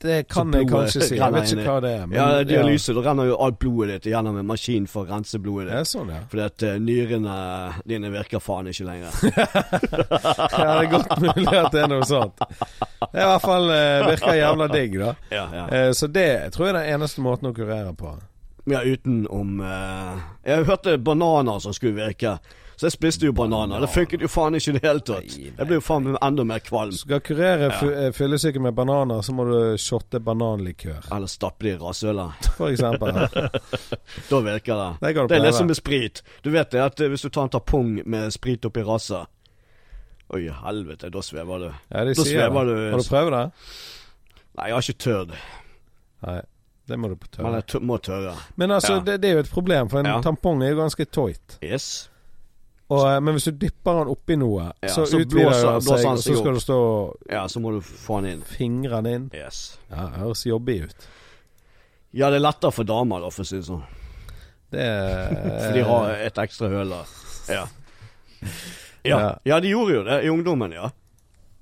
A: Det kan
B: Så
A: jeg
B: blodet
A: kanskje si. Jeg
B: renner
A: vet
B: inn i-
A: ikke hva det er. men-
B: Ja, dialyse. Da renner jo alt blodet ditt gjennom en maskin for å rense blodet
A: Ja. Det
B: ditt.
A: er sånn, ja.
B: Fordi at eh, nyrene dine virker faen ikke lenger.
A: *laughs* ja. Det er godt *laughs* mulig at det er noe sånt. Det er i hvert fall eh, virker jævla digg, da.
B: Ja, ja.
A: Eh, så det tror jeg er den eneste måten å kurere på.
B: ja utenom eh, Jeg hørte bananer som skulle virke. Så jeg spiste jo bananer. Det funket jo faen ikke i det hele tatt.
A: Nei, nei.
B: Jeg ble jo faen meg enda mer kvalm.
A: Skal kurere fy- eh, fyllesyke med bananer, så må du shotte bananlikør,
B: Eller stappe det i rasshølet.
A: for
B: *laughs*
A: eksempel.
B: Da virker det.
A: Det kan du
B: Det er litt som
A: prøve.
B: med sprit. Du vet det at eh, hvis du tar en tampong med sprit oppi rassa Oi, helvete, da svever du.
A: Ja, de
B: Da
A: sier
B: svever
A: det.
B: du.
A: Har du prøvd det?
B: Nei, jeg har ikke tørt.
A: Nei. Det må du på
B: Men
A: tørre.
B: jeg tør, må tørre.
A: Men altså,
B: Ja.
A: det, det er jo et problem, for en
B: Ja.
A: tampong er jo ganske tight.
B: Yes.
A: Og, eh, men hvis du dypper den oppi noe,
B: Ja,
A: så,
B: så
A: utvider
B: blåser-
A: den
B: blåser
A: seg,
B: den
A: og
B: seg
A: så
B: opp.
A: skal du stå og
B: Ja, så må du få den inn.
A: fingre den inn.
B: Yes.
A: Ja, det høres jobbig ut.
B: Ja, det er lettere for damer, da, for å si det sånn.
A: *laughs* Det er
B: For de har et ekstra høl der. Eh. Ja. *laughs* Ja.
A: Ja.
B: ja, de gjorde jo det i ungdommen, ja.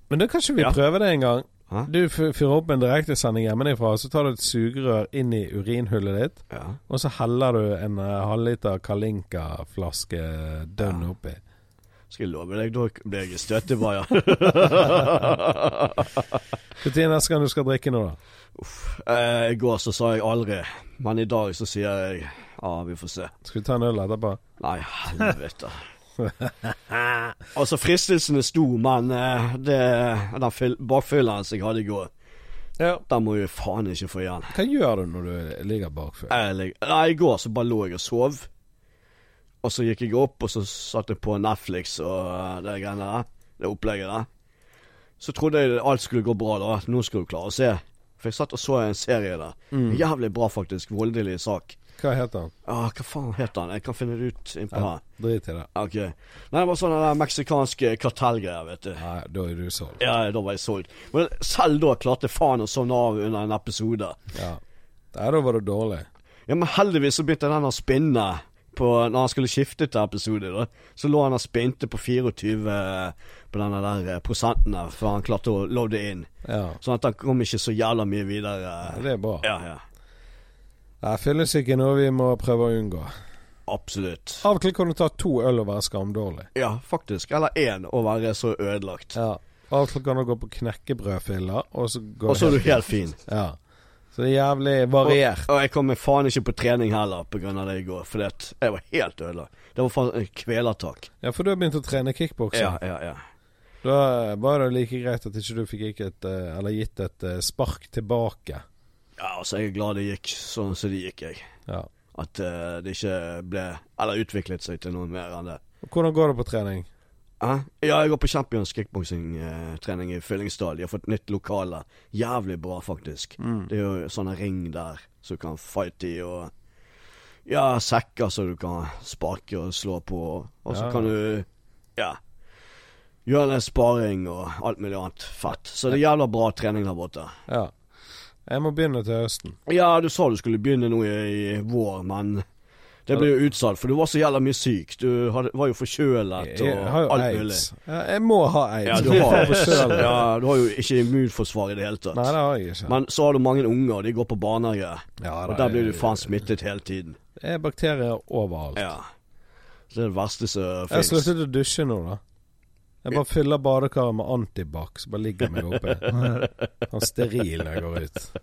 A: Men da kan ikke vi
B: Ja.
A: prøve det en gang.
B: Hæ?
A: Du f- fyrer opp en direktesending hjemmefra, så tar du et sugerør inn i urinhullet ditt,
B: ja.
A: og så heller du en eh, halvliter Kalinka-flaske dønn oppi.
B: Skal jeg love deg, da blir jeg støtebaier. *laughs*
A: Når er neste gang du skal drikke noe, da?
B: Eh, I går så sa jeg aldri, men i dag så sier jeg ja, vi får se.
A: Skal vi ta en øl etterpå?
B: Nei, *laughs* helvete. altså, fristelsen er stor, men eh, det, den fyll- bakfylleren som jeg hadde i går,
A: Ja.
B: den må jeg faen ikke få igjen.
A: Hva gjør du når du ligger bakfor?
B: Jeg lig- Nei, i går så bare lå jeg og sov. Og så gikk jeg opp, og så satte jeg på Netflix og eh, det greiene der. Det opplegget der. Så trodde jeg alt skulle gå bra, da. Nå skulle du klare å se. For jeg satt og så en serie der. Jævlig bra, faktisk. Voldelig sak.
A: Hva heter han?
B: Ah, hva faen het han? Jeg kan finne det ut innpå her.
A: Drit i det.
B: Ok. Nei, det var sånn den meksikanske kartellgreia, vet du.
A: Nei, da er du solgt.
B: Ja, da var jeg solgt. Men selv da klarte jeg faen å sovne av under en episode.
A: Ja. Nei, da var du dårlig.
B: Ja, men heldigvis så begynte den å spinne på Når han skulle skifte til episode, da. Så lå han og spinte på 24 på denne der eh, prosenten der, før han klarte å loade inn.
A: Ja.
B: Sånn at han kom ikke så jævla mye videre.
A: Det er bra.
B: Ja, ja.
A: Nei, Fyllesyke er noe vi må prøve å unngå.
B: Absolutt.
A: Av og til kan du ta to øl og være skamdårlig.
B: Ja, faktisk. Eller én, å være så ødelagt.
A: Ja. Av og til kan du gå på knekkebrødfiller, og så går
B: Og så er
A: det
B: du helt fin.
A: Ja. Så det er jævlig variert.
B: Og jeg kom meg faen ikke på trening heller pga. det i går, for jeg var helt ødelagt. Det var faen et kvelertak.
A: Ja, for du har begynt å trene kickboksing.
B: Ja, ja, ja.
A: Da var det like greit at ikke du fikk gikk et, eh, eller gitt et eh, spark tilbake.
B: ja, altså, jeg er glad det gikk sånn som det gikk, jeg.
A: Ja.
B: At eh, det ikke ble Eller utviklet seg til noe mer enn det.
A: Og Hvordan går det på trening?
B: Hæ? Ja, jeg går på Champions kickboksingtrening i Fyllingsdal. De har fått nytt lokale. Jævlig bra, faktisk. Det er jo sånne ring der som du kan fighte i, og ja, sekker som du kan sparke og slå på. Og så
A: Ja.
B: kan du ja, gjøre litt sparing og alt mulig annet fett. Så det er jævla bra trening der borte.
A: Ja. Jeg må begynne til høsten.
B: Ja, du sa du skulle begynne nå i, i vår, men det ble jo utsatt, for du var så jævla mye syk. Du hadde, var jo forkjølet
A: Jeg har
B: og
A: jo
B: alt mulig.
A: aids. Ja, jeg må ha aids.
B: Ja, du
A: Jeg *laughs*
B: har,
A: får forkjølelse.
B: ja, du har jo ikke immunforsvar i det hele
A: Nei,
B: tatt.
A: det har jeg ikke.
B: Men så har du mange unger, de går på barnehage,
A: ja,
B: og
A: da,
B: der blir
A: jeg-
B: du faen smittet hele tiden.
A: Det er bakterier overalt.
B: Ja. Så det er det verste som
A: Jeg
B: fins.
A: sluttet å dusje nå, da. Jeg bare fyller badekaret med antibac, så bare ligger jeg meg oppe. Han steril når jeg går ut.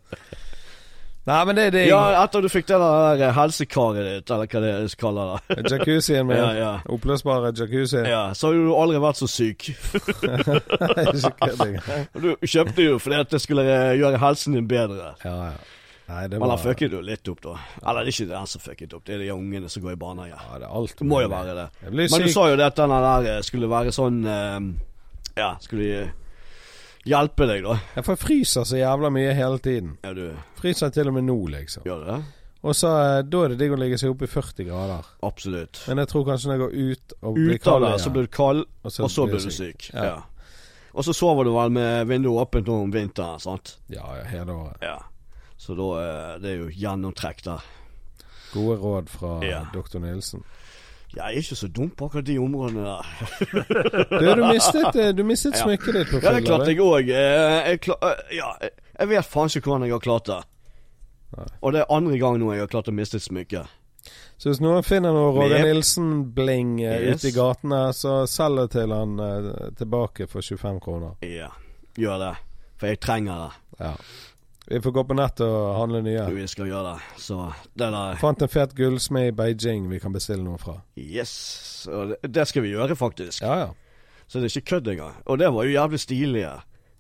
A: Nei, men det er digg.
B: Ja, etter du fikk det der eh, helsekaret ditt, eller hva det er de kaller det.
A: Jacuzzien
B: *laughs*
A: min.
B: Ja, ja.
A: Oppløsbare jacuzzi. *laughs*
B: Ja, så har du aldri vært så syk.
A: Ikke kødding.
B: Og Du kjøpte jo fordi at det skulle eh, gjøre helsen din bedre.
A: ja, ja. Nei, det
B: Men
A: var
B: han fucket jo litt opp, da. Eller det er ikke den som fucket opp, det er de ungene som går i barnehage.
A: Ja, det er alt
B: Det må jo
A: mulig.
B: være det.
A: Jeg blir
B: Men du
A: Mm. syk.
B: sa jo det at denne der eh, skulle være sånn eh, Ja, skulle eh, hjelpe deg, da.
A: Ja, for Jeg fryser så jævla mye hele tiden.
B: Ja, du
A: Fryser til og med nå, liksom.
B: gjør du det?
A: Og så eh, Da er det digg å ligge seg oppe i 40 grader.
B: Absolutt.
A: Men jeg tror kanskje når jeg går ut og blir
B: Ut av
A: kald
B: det, så blir du kald, og så
A: blir
B: blir du syk.
A: Ja.
B: Ja. Og så sover du vel med vinduet åpent nå om vinteren, sant?
A: Ja, ja, hele året.
B: Ja. Så da eh, Det er jo gjennomtrekk der.
A: Gode råd fra
B: Ja.
A: doktor Nilsen.
B: Jeg er ikke så dum på akkurat de områdene der.
A: Du, du mistet, eh, du mistet
B: Ja.
A: smykket ditt på
B: Ja, det
A: fylla.
B: klarte
A: du.
B: jeg òg. Ja, eh, jeg vet faen ikke hvordan jeg har klart det.
A: Nei.
B: Og det er andre gang nå jeg har klart å miste et smykke.
A: Så hvis noen finner noe Roger
B: Yep.
A: Nilsen-bling eh,
B: Yes.
A: ute i gatene, så selg det til han eh, tilbake for 25 kroner.
B: Ja, gjør det. For jeg trenger det.
A: Ja. Vi får gå på nettet og handle nye.
B: Vi skal gjøre det. Så det der
A: Fant en fet gullsmed i Beijing vi kan bestille noe fra.
B: Yes. Og det, det skal vi gjøre, faktisk.
A: Ja, ja.
B: Så det er ikke kødd engang. Og det var jo jævlig stilig.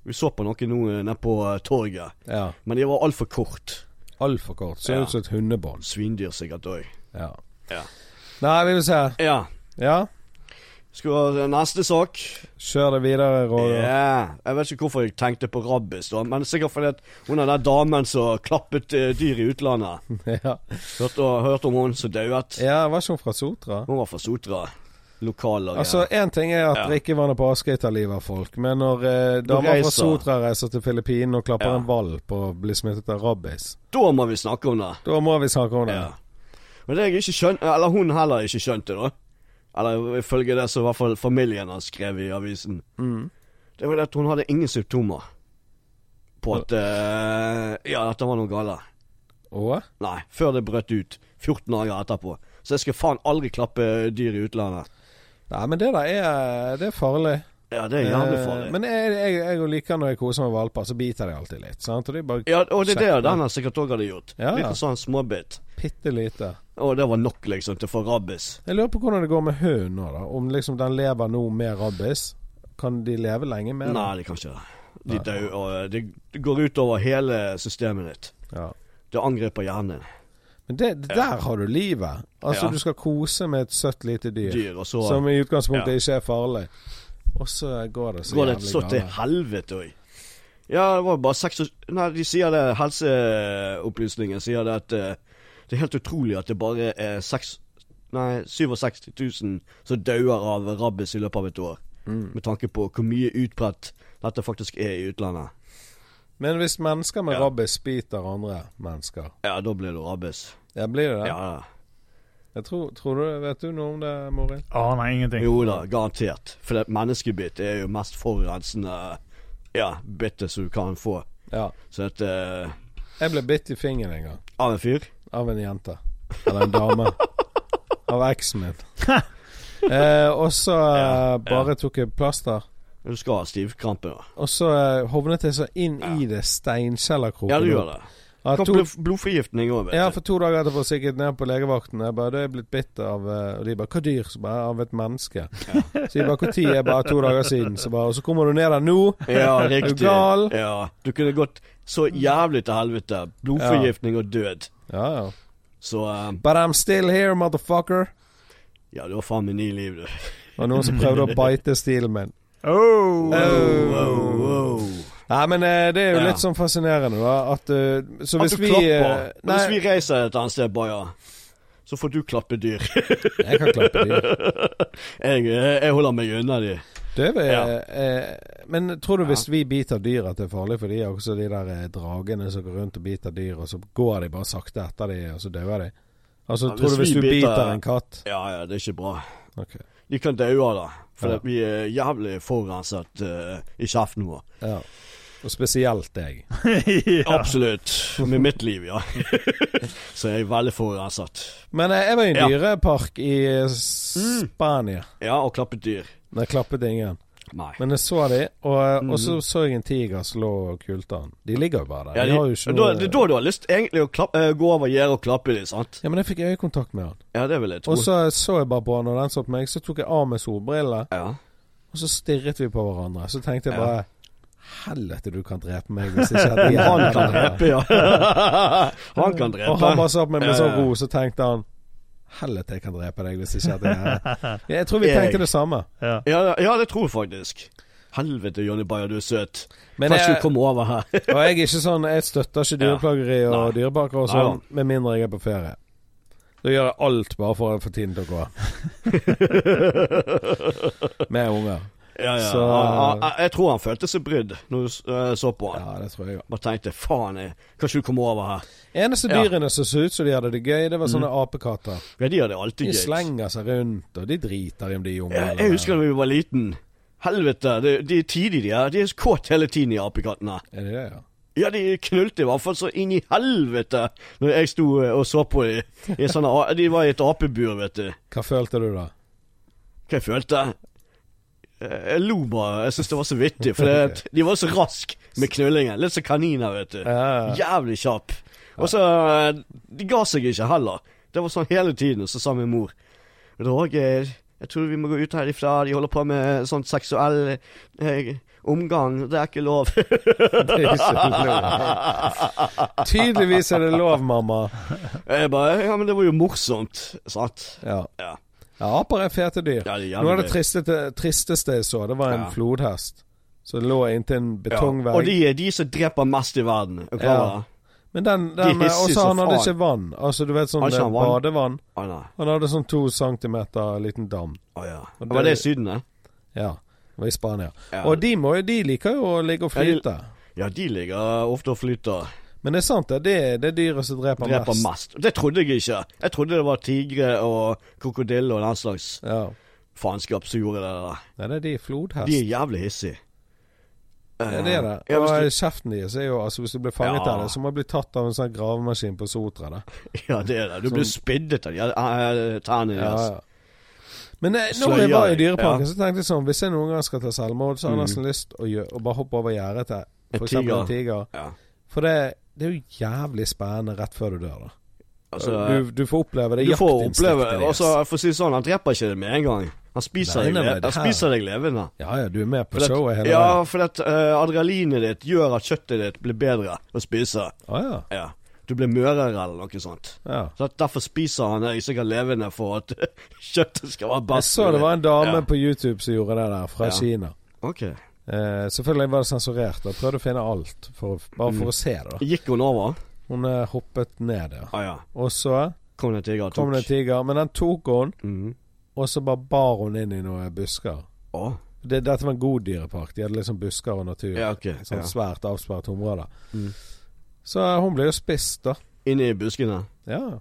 B: Vi så på noe nå eh, nede på eh, torget,
A: ja.
B: men de var altfor kort.
A: Altfor kort. Ser
B: Ja.
A: ut som et hundebånd.
B: Svindyr sikkert òg.
A: Ja.
B: Ja.
A: Nei, vi vil se.
B: Ja.
A: Ja,
B: Skal vi ha neste sak?
A: kjør det videre,
B: Ja.
A: Roger.
B: Jeg vet ikke hvorfor jeg tenkte på rabbis, da, men sikkert fordi at hun er den damen som klappet eh, dyr i utlandet.
A: *laughs* ja.
B: Hørte, hørte om hun som dauet?
A: ja, var ikke hun fra Sotra?
B: Hun var fra Sotra. Lokallaget.
A: Altså, én ting er at
B: Ja.
A: drikkevannet på Askøy tar livet av folk, men når eh, damer
B: reiser.
A: fra Sotra reiser til Filippinene og klapper
B: Ja.
A: en ball på å bli smittet av rabies,
B: da må vi snakke om det.
A: da må vi snakke om det.
B: Ja. Men det jeg ikke skjønte, eller hun heller ikke skjønte, da. Eller ifølge det som i hvert fall familien har skrevet i avisen.
A: Mm.
B: Det var det at hun hadde ingen symptomer på at eh, Ja, dette var noe galt.
A: Og
B: Nei, før det brøt ut. 14 dager etterpå. Så jeg skal faen aldri klappe dyr i utlandet.
A: Nei, men det der er, det er farlig.
B: Ja, det er jævlig
A: Eh,
B: farlig.
A: Men jeg, jeg, jeg liker når jeg koser meg med valper, så biter de alltid litt. Sant? Og det er bare
B: ja, og det er det denne sikkert òg hadde gjort.
A: Ja, ja.
B: Liten sånn småbit.
A: bitte lite.
B: Og det var nok, liksom, til å få rabies.
A: Jeg lurer på hvordan det går med hunden nå, da. Om liksom den lever nå med rabies. Kan de leve lenge med det?
B: Nei, det kan ikke det. De dør, og det det går ut over hele systemet ditt.
A: Ja.
B: Det angriper hjernen din.
A: Men det, det der har du livet. Altså,
B: Ja.
A: du skal kose med et søtt lite dyr,
B: Dyr, og så
A: som i utgangspunktet
B: Ja.
A: ikke er farlig. Og så går det så
B: går det
A: jævlig
B: så til
A: galt.
B: helvete òg. Ja, det var bare seks og... Nei, de sier det, helseopplysningen sier det at eh, det er helt utrolig at det bare er seks Nei, 67 000 som dauer av rabies i løpet av et år.
A: Mm.
B: Med tanke på hvor mye utbredt dette faktisk er i utlandet.
A: Men hvis mennesker med
B: Ja.
A: rabies biter andre mennesker,
B: Ja, da blir det rabies.
A: ja, blir det det?
B: Ja, ja.
A: Jeg tror, tror du, Vet du noe om det, Morin?
C: Aner ingenting.
B: Jo da, garantert. For det menneskebitt er jo mest forurensende ja, bittet som du kan få.
A: Ja.
B: Så at eh,
A: Jeg ble bitt i fingeren en gang.
B: Av en fyr?
A: Av en jente. Eller en
B: *laughs*
A: dame. Av eksen min. eh, og så eh, bare tok jeg plaster.
B: Du skal ha stivkrampe, da.
A: Og så eh, hovnet jeg så inn i det steinkjellerkroken.
B: Ja, du gjør det.
A: Ja,
B: Kan
A: to,
B: bli blodforgiftning òg, vet
A: ja,
B: du.
A: for to dager etterpå så gikk jeg ned på legevakten. Jeg bare 'Du er blitt bitt av eh», Og de bare 'Hva dyr?' Så bare 'Av et menneske'. Så jeg bare 'Når?' Jeg bare 'To dager siden'. Så bare 'Og så kommer du ned der nå'.
B: Ja,
A: *laughs* du
B: riktig.
A: gal?
B: Ja, du kunne gått så jævlig til helvete. Blodforgiftning og død.
A: Ja, ja.
B: Så eh,
A: But I'm still here, motherfucker.
B: ja, du har faen meg ni liv, du.
A: Det var noen som prøvde å bite stilen min.
C: Oh.
B: Wow, wow.
A: Nei, men eh, det er jo
B: Ja.
A: litt sånn fascinerende, da. At eh, Så
B: At
A: hvis
B: du
A: vi
B: klapper.
A: eh,
B: Men hvis
A: Nei,
B: vi reiser et annet sted, Baja, så får du klappe dyr.
A: jeg kan klappe dyr.
B: Jeg, eh, jeg holder meg unna de.
A: Det er, vel-
B: Ja.
A: eh, men tror du hvis vi biter dyr at det er farlig for de også, de der eh, dragene som går rundt og biter dyr, og så går de bare sakte etter de, og så dauer de? Altså,
B: Ja,
A: tror
B: hvis
A: du hvis
B: vi
A: du biter,
B: biter-
A: en katt
B: Ja, ja, det er ikke bra.
A: Ok.
B: De kan daue av det. For
A: Ja.
B: at vi er jævlig forurenset eh, i kjeften vår.
A: Ja. Og spesielt deg.
C: ja.
B: Absolutt. Med mitt liv, ja. *laughs* så jeg er veldig forurenset.
A: Men eh, jeg var i en
B: Ja. Mm.
A: dyrepark i eh, Spania.
B: Ja, og klappet dyr.
A: Der klappet ingen.
B: Nei.
A: Men jeg så de, og, eh,
B: Mm.
A: og så så jeg en tiger som lå og kulte han. De ligger jo bare der.
B: Ja,
A: de,
B: de,
A: har jo
B: da,
A: ikke noe
B: det er da du har lyst egentlig å klappe, eh, gå over gjerdet og klappe dem, sant?
A: Ja, men jeg fikk øyekontakt med han.
B: Ja, det vil jeg tro.
A: Og så så jeg bare på han, og den så på meg. Så tok jeg av meg solbrillene.
B: ja.
A: Og så stirret vi på hverandre. Så tenkte jeg
B: Ja.
A: bare Helvete, du kan drepe meg hvis ikke jeg
B: Men *laughs* Han
A: hadde
B: kan drepe, *laughs* ja. han kan
A: Og han
B: drepe.
A: bare sa på meg med
B: Ja,
A: sånn
B: ja.
A: ro, så tenkte han Helvete, jeg kan drepe deg hvis ikke jeg hadde gjerne
B: *laughs*
A: det. Jeg tror vi
B: Jeg-
A: tenkte det samme.
C: Ja.
B: Ja, ja, det tror jeg faktisk. Helvete, Jonny Bayer, du er søt.
A: Men
B: Kanskje
A: jeg,
B: du kommer over
A: *laughs*
B: her.
A: og jeg er ikke sånn Jeg støtter ikke
B: Ja.
A: dyreplageri og
B: Nei.
A: dyreparker og
B: Nei da.
A: sånn, med mindre jeg er på ferie. Da gjør jeg alt bare for å få tiden til å
B: *laughs*
A: gå. Med unger.
B: Ja, ja.
A: Så-
B: Han- han- Ah, jeg tror han følte seg brydd når du s- eh, så på han.
A: Ja, det tror jeg òg.
B: Bare tenkte faen, jeg, kanskje du kommer over her.
A: Eneste
B: Ja. Mm.
A: dyrene som så ut som de hadde det gøy, det var sånne apekatter.
B: Ja, de hadde alltid
A: De
B: gøy.
A: slenger seg rundt, og de driter i om de er unger.
B: Jeg,
A: eller-
B: jeg husker da vi var liten. Helvete, det- de er tidlig de her. De er kåt hele tiden, de apekattene.
A: Er det det, ja?
B: Ja, de knulte i hvert fall så inn i helvete når jeg sto eh, og så på dem. I sånne, a- de var i et apebur, vet du.
A: Hva følte du da?
B: Hva jeg følte? Eh, Jeg lo bare. Jeg syntes det var så vittig, for det, de var så raske med knullingen. Litt som kaniner, vet du. Jævlig kjapp. Og så eh, De ga seg ikke heller. Det var sånn hele tiden, så sa min mor Roger, jeg tror vi må gå ut herifra. De holder på med sånn seksuell eh, omgang. Det er ikke lov. *laughs*
A: *laughs* Det er ikke lov. Tydeligvis er det lov, mamma.
B: jeg bare Ja, men det var jo morsomt. Sant?
A: Ja,
B: Ja.
A: ja aper er fete dyr.
B: ja det er jævlig
A: Noe av det
B: gøy.
A: tristete, tristeste jeg så, det var en
B: Ja.
A: flodhest som lå inntil en
B: Ja. Og
A: betongvegg.
B: de er de som dreper mest i verden. Er du
A: Ja.
B: klar over det?
A: Men den, den
B: de hisser
A: også
B: så
A: han hadde
B: faen.
A: ikke vann. Altså, du vet sånn
B: Har ikke
A: eh,
B: han vann?
A: badevann.
B: Å nei.
A: Han hadde sånn to centimeter liten dam.
B: Å ja.
A: Og
B: Var
A: det-
B: det i Syden, det?
A: Ja. Det var i Spania.
B: Ja.
A: Og de, må, jo- de liker jo å ligge og
B: Ja, de-
A: flyte.
B: ja, de ligger ofte og flyter.
A: Men det er sant, det. Det er det dyret som dreper,
B: Dreper
A: mest.
B: mest. Det trodde jeg ikke. Jeg trodde det var tigre og krokodille og den slags
A: Ja.
B: faenskap som gjorde det der.
A: Nei, det er de flodhest.
B: De er jævlig hissige.
A: Ja, det er det.
B: Ja, hvis
A: og kjeften deres er jo altså Hvis du blir fanget
B: Ja.
A: av det, så må du bli tatt av en sånn gravemaskin på Sotra. Da.
B: du, *laughs* ja, det er det. Du blir spiddet av de eh, tærne
A: Ja,
B: deres.
A: ja. Men eh,
B: Sløyer
A: når jeg var i
B: deg.
A: Dyreparken, så tenkte jeg sånn Hvis jeg noen gang skal ta selvmord, så har jeg nesten lyst å, gjø- å bare hoppe over gjerdet til
B: Mm. En
A: f.eks. en
B: tiger.
A: tiger.
B: Ja.
A: For det, det er jo jævlig spennende rett før du dør, da.
B: Altså,
A: du, du får oppleve det
B: du får oppleve
A: jaktinstinktet
B: altså, For å si det sånn, han dreper ikke det med en gang. Han spiser,
A: Nei,
B: deg,
A: nei, nei,
B: le-
A: det
B: han
A: her-
B: spiser deg levende.
A: Ja ja, du er med på
B: For at-
A: showet hele
B: ja,
A: veien.
B: for at eh, adrenalinet ditt gjør at kjøttet ditt blir bedre å spise.
A: Å ja.
B: Ja. Du blir mørere eller noe sånt.
A: ja.
B: Så at Derfor spiser han deg sikkert levende for at *laughs* kjøttet skal være
A: Jeg
B: best.
A: så det var en dame
B: Ja.
A: på YouTube som gjorde det der, fra
B: Ja.
A: Kina.
B: Ok.
A: Eh, selvfølgelig var det sensurert. Jeg prøvde å finne alt, for, å- bare
B: Mm.
A: for å se det. da
B: Gikk hun over?
A: Hun eh, hoppet ned, ja.
B: Ah, ja.
A: Og så
B: Kom det en tiger og tok?
A: kom det en tiger, men den tok hun,
B: Mhm.
A: og så bare bar hun inn i noen busker.
B: Å,
A: Det, dette var en god dyrepark. De hadde liksom busker og natur.
B: Ja, ok.
A: Et sånt
B: Ja.
A: svært avsperret område.
B: Mm.
A: Så hun ble jo spist, da.
B: Inne i buskene?
A: Ja.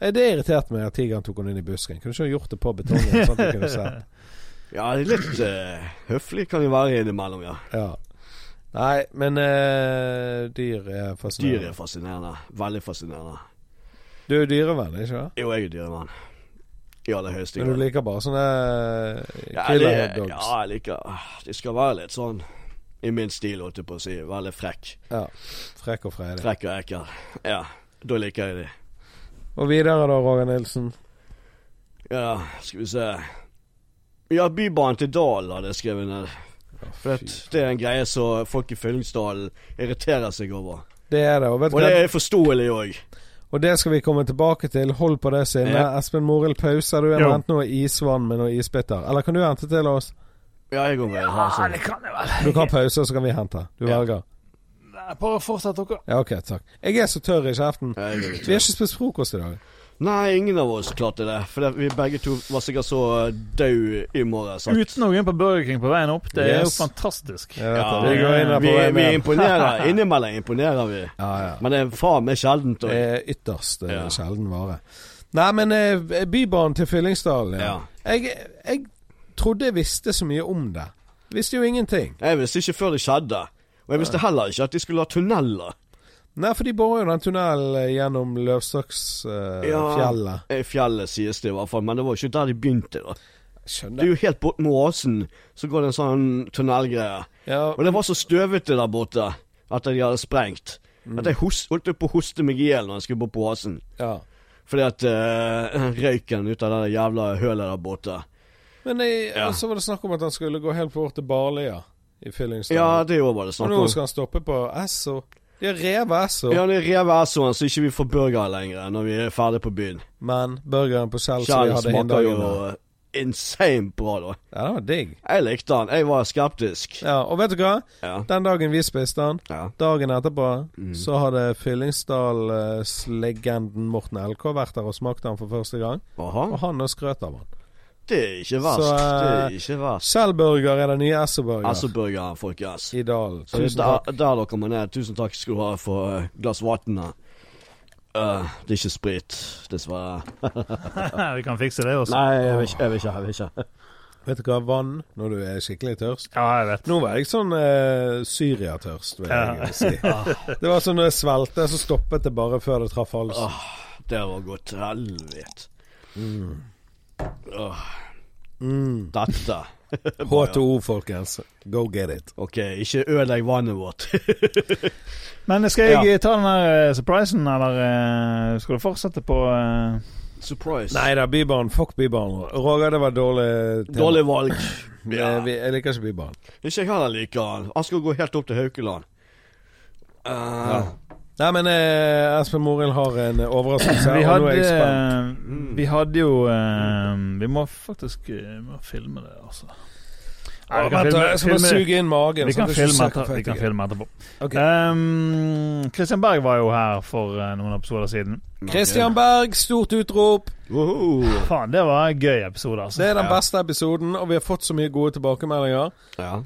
A: Eh, Det irriterte meg at tigeren tok hun inn i busken. Kunne ikke hun gjort det på betongen? sånn at vi
B: *laughs*
A: kunne sett.
B: Ja, litt eh, høflig kan de være innimellom, ja.
A: Ja. Nei, men eh, dyr er
B: Dyr
A: fascinerende.
B: er fascinerende. Veldig fascinerende.
A: Du er jo dyrevenn, ikke sant?
B: Jo, jeg er dyremann. I aller høyeste
A: Men du
B: grad.
A: liker bare sånne
B: Ja,
A: killer
B: jeg-
A: hot dogs.
B: ja, jeg liker ah, De skal være litt sånn I min stil, holdt jeg på å si. Veldig frekk.
A: Ja. Frekk og fredig.
B: Frekk og ekkel. Ja, da liker jeg de.
A: Og videre da, Roger Nilsen.
B: Ja, skal vi se. Ja, Bybanen til Dal hadde jeg skrevet ned. For det, det er en greie som folk i Fyllingsdalen irriterer seg over.
A: Det er det. Og, vet du
B: Og det
A: hva?
B: er forståelig òg.
A: og det skal vi komme tilbake til. Hold på det sinnet.
B: Ja.
A: Espen Morild Pauser, du har
C: Jo.
A: hentet noe isvann med noe isbiter. Eller kan du hente til oss?
B: Ja, jeg går med.
C: Ja,
B: her, sånn.
C: det kan jeg vel.
A: Du kan pause, så kan vi hente. Du
B: Ja.
A: velger.
C: Nei, Bare fortsett, dere.
A: Ja, OK, takk. Jeg er så tørr i kjeften.
B: Ja, jeg går med.
A: Vi har ikke spist frokost i dag.
B: Nei, ingen av oss klarte det. For det, vi begge to var sikkert så eh, døde i morges. at-
C: Uten å gå inn på Burger King på veien opp. Det er jo
A: Yes.
C: fantastisk.
A: Jeg
C: *laughs*
A: vet
B: Ja,
A: det. vi går inn der på
B: vi,
A: veien
B: vi
A: hjem.
B: imponerer. Innimellom imponerer vi.
A: Ja, ja.
B: Men det er faen meg sjeldent. Og,
A: Det er ytterst eh,
B: Ja.
A: sjelden vare. Nei, men eh, Bybanen til Fyllingsdalen, ja.
B: ja.
A: Jeg, jeg trodde jeg visste så mye om det. Visste jo ingenting.
B: Jeg visste ikke før det skjedde. Og jeg visste heller ikke at de skulle ha tunneler.
A: Nei, for de borer jo den tunnelen eh, gjennom Løvstaksfjellet.
B: Ja.
A: fjellet
B: Eh, Fjellet sies det i hvert fall, men det var jo ikke der de begynte. da Det
A: Skjønner.
B: er jo helt borte med åsen, så går det en sånn tunnelgreie.
A: Ja,
B: Og det var så støvete der borte etter de hadde sprengt,
A: Mm.
B: at jeg hos, holdt på å hoste meg i hjel når jeg skulle bort på åsen.
A: ja.
B: Fordi at eh, *laughs* røyken ut av det jævla hølet der borte
A: Men jeg,
B: Ja.
A: så var det snakk om at han skulle gå helt bort til Barlia i
B: Ja,
A: Fyllingsdalen.
B: det òg var det
A: og
B: snakk
A: nå
B: om.
A: skal han stoppe på Esso. De har revet Esso,
B: Ja, det rev essoen sånn, så ikke vi får burger lenger når vi er ferdig på byen.
A: men burgeren på Kjell som Altså, vi
B: Kjell
A: hadde
B: smaker jo
A: hindagen med.
B: insane bra, da.
A: Ja, det var digg.
B: Jeg likte den. Jeg var skeptisk.
A: Ja, og vet du hva?
B: Ja.
A: Den dagen vi spiste den,
B: ja.
A: dagen etterpå, så hadde Fyllingsdal-legenden Morten LK vært der og smakt den for første gang.
B: Aha.
A: Og han og skrøt av han.
B: Det er ikke verst.
A: Så, eh,
B: det er ikke verst.
A: Kjell-burger er den nye Esso-burger
B: Essoburgeren, folkens.
A: i dalen.
B: Altså, Så
A: Tusen
B: der,
A: takk.
B: der dere må ned. Tusen takk skal du ha for eh, glass vann. Eh, det er ikke sprit, dessverre.
C: vi kan fikse det også.
B: Nei, jeg vil ikke. Jeg vil ikke, jeg vil ikke.
A: Vet du hva? Vann når du er skikkelig tørst.
C: Ja, jeg vet.
A: Nå var jeg sånn eh, Syria-tørst, vil jeg
C: Ja.
A: egentlig si. *laughs* Det var sånn når jeg svelgte, så stoppet det bare før det traff halsen.
B: Åh, *laughs* det var godt. Helvete. Åh,
A: Mm.
B: dette.
A: H2O, folkens. Go get it.
B: Ok, ikke ødelegg vannet vårt. *laughs*
C: Men skal jeg ta den der eh, surprisen, eller eh, skal du fortsette på eh,
B: Surprise.
A: Nei da, Bybanen. Fuck Bybanen. Roger, det var dårlig tema.
B: Dårlig valg. Ja.
A: Eh, vi- Jeg liker ikke Bybanen.
B: Ikke jeg heller liker han. Han skal gå helt opp til Haukeland. Eh,
A: Nei, men eh, Espen Morild har en eh, overraskelse. og nå
C: Vi
A: er jeg
C: hadde,
A: spent.
C: eh, vi hadde jo eh, Vi må faktisk eh, vi må filme det, altså.
A: Å,
C: Nei, vi kan
A: vent, da,
C: filme-
A: jeg skal bare
C: filme-
A: suge inn magen.
C: Vi
A: sånn
C: kan
A: at jeg ikke
C: filme,
A: ser
C: etter, vi kan
A: perfekt ut.
C: filme etterpå.
A: Ok.
C: Ehm, Christian Berg var jo her for eh, noen episoder siden.
B: ok.
A: Christian Berg, stort utrop.
B: Woho.
C: Faen, det var en gøy episode, altså.
A: Det er den
B: Ja.
A: beste episoden, og vi har fått så mye gode tilbakemeldinger
B: Ja.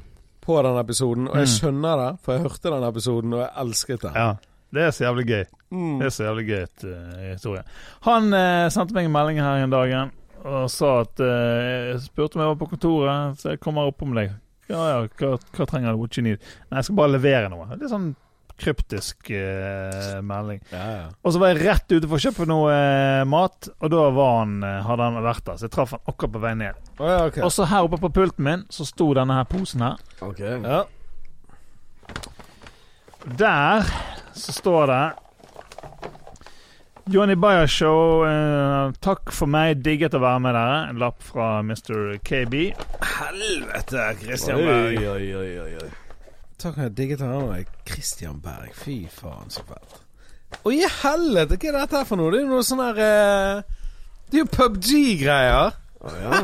A: på den episoden. Og jeg
C: Mm.
A: skjønner det, for jeg hørte den episoden, og jeg elsket den.
C: Ja. Det er så jævlig gøy. Det
A: Mm.
C: er så jævlig gøy et, eh, historie. Han eh, sendte meg en melding her en dag og sa at eh, jeg Spurte om jeg var på kontoret, så jeg kommer opp om deg. Ja ja, hva, hva trenger du? What you need? Nei, jeg skal bare levere noe. Litt sånn kryptisk eh, melding.
A: Ja, ja.
C: Og så var jeg rett ute for å kjøpe noe eh, mat, og da var han, eh, hadde han vært der. Så jeg traff han akkurat på vei ned.
A: Å, ja, ok.
C: Og så her oppe på pulten min så sto denne her posen her.
B: Ok.
A: ja.
C: Der så står det Johnny Bayer Show, eh, takk for meg, digget å være med dere. En lapp fra Mr. KB.
A: Helvete, Christian
B: Oi, oi, oi, oi, oi.
A: Takk for at jeg digget den andre. Christian Berg, fy faen, så fett. Å, i helvete, hva er dette her for noe? Det er jo noe sånn her eh, Det er jo PubG-greier.
B: Å, Ah, ja.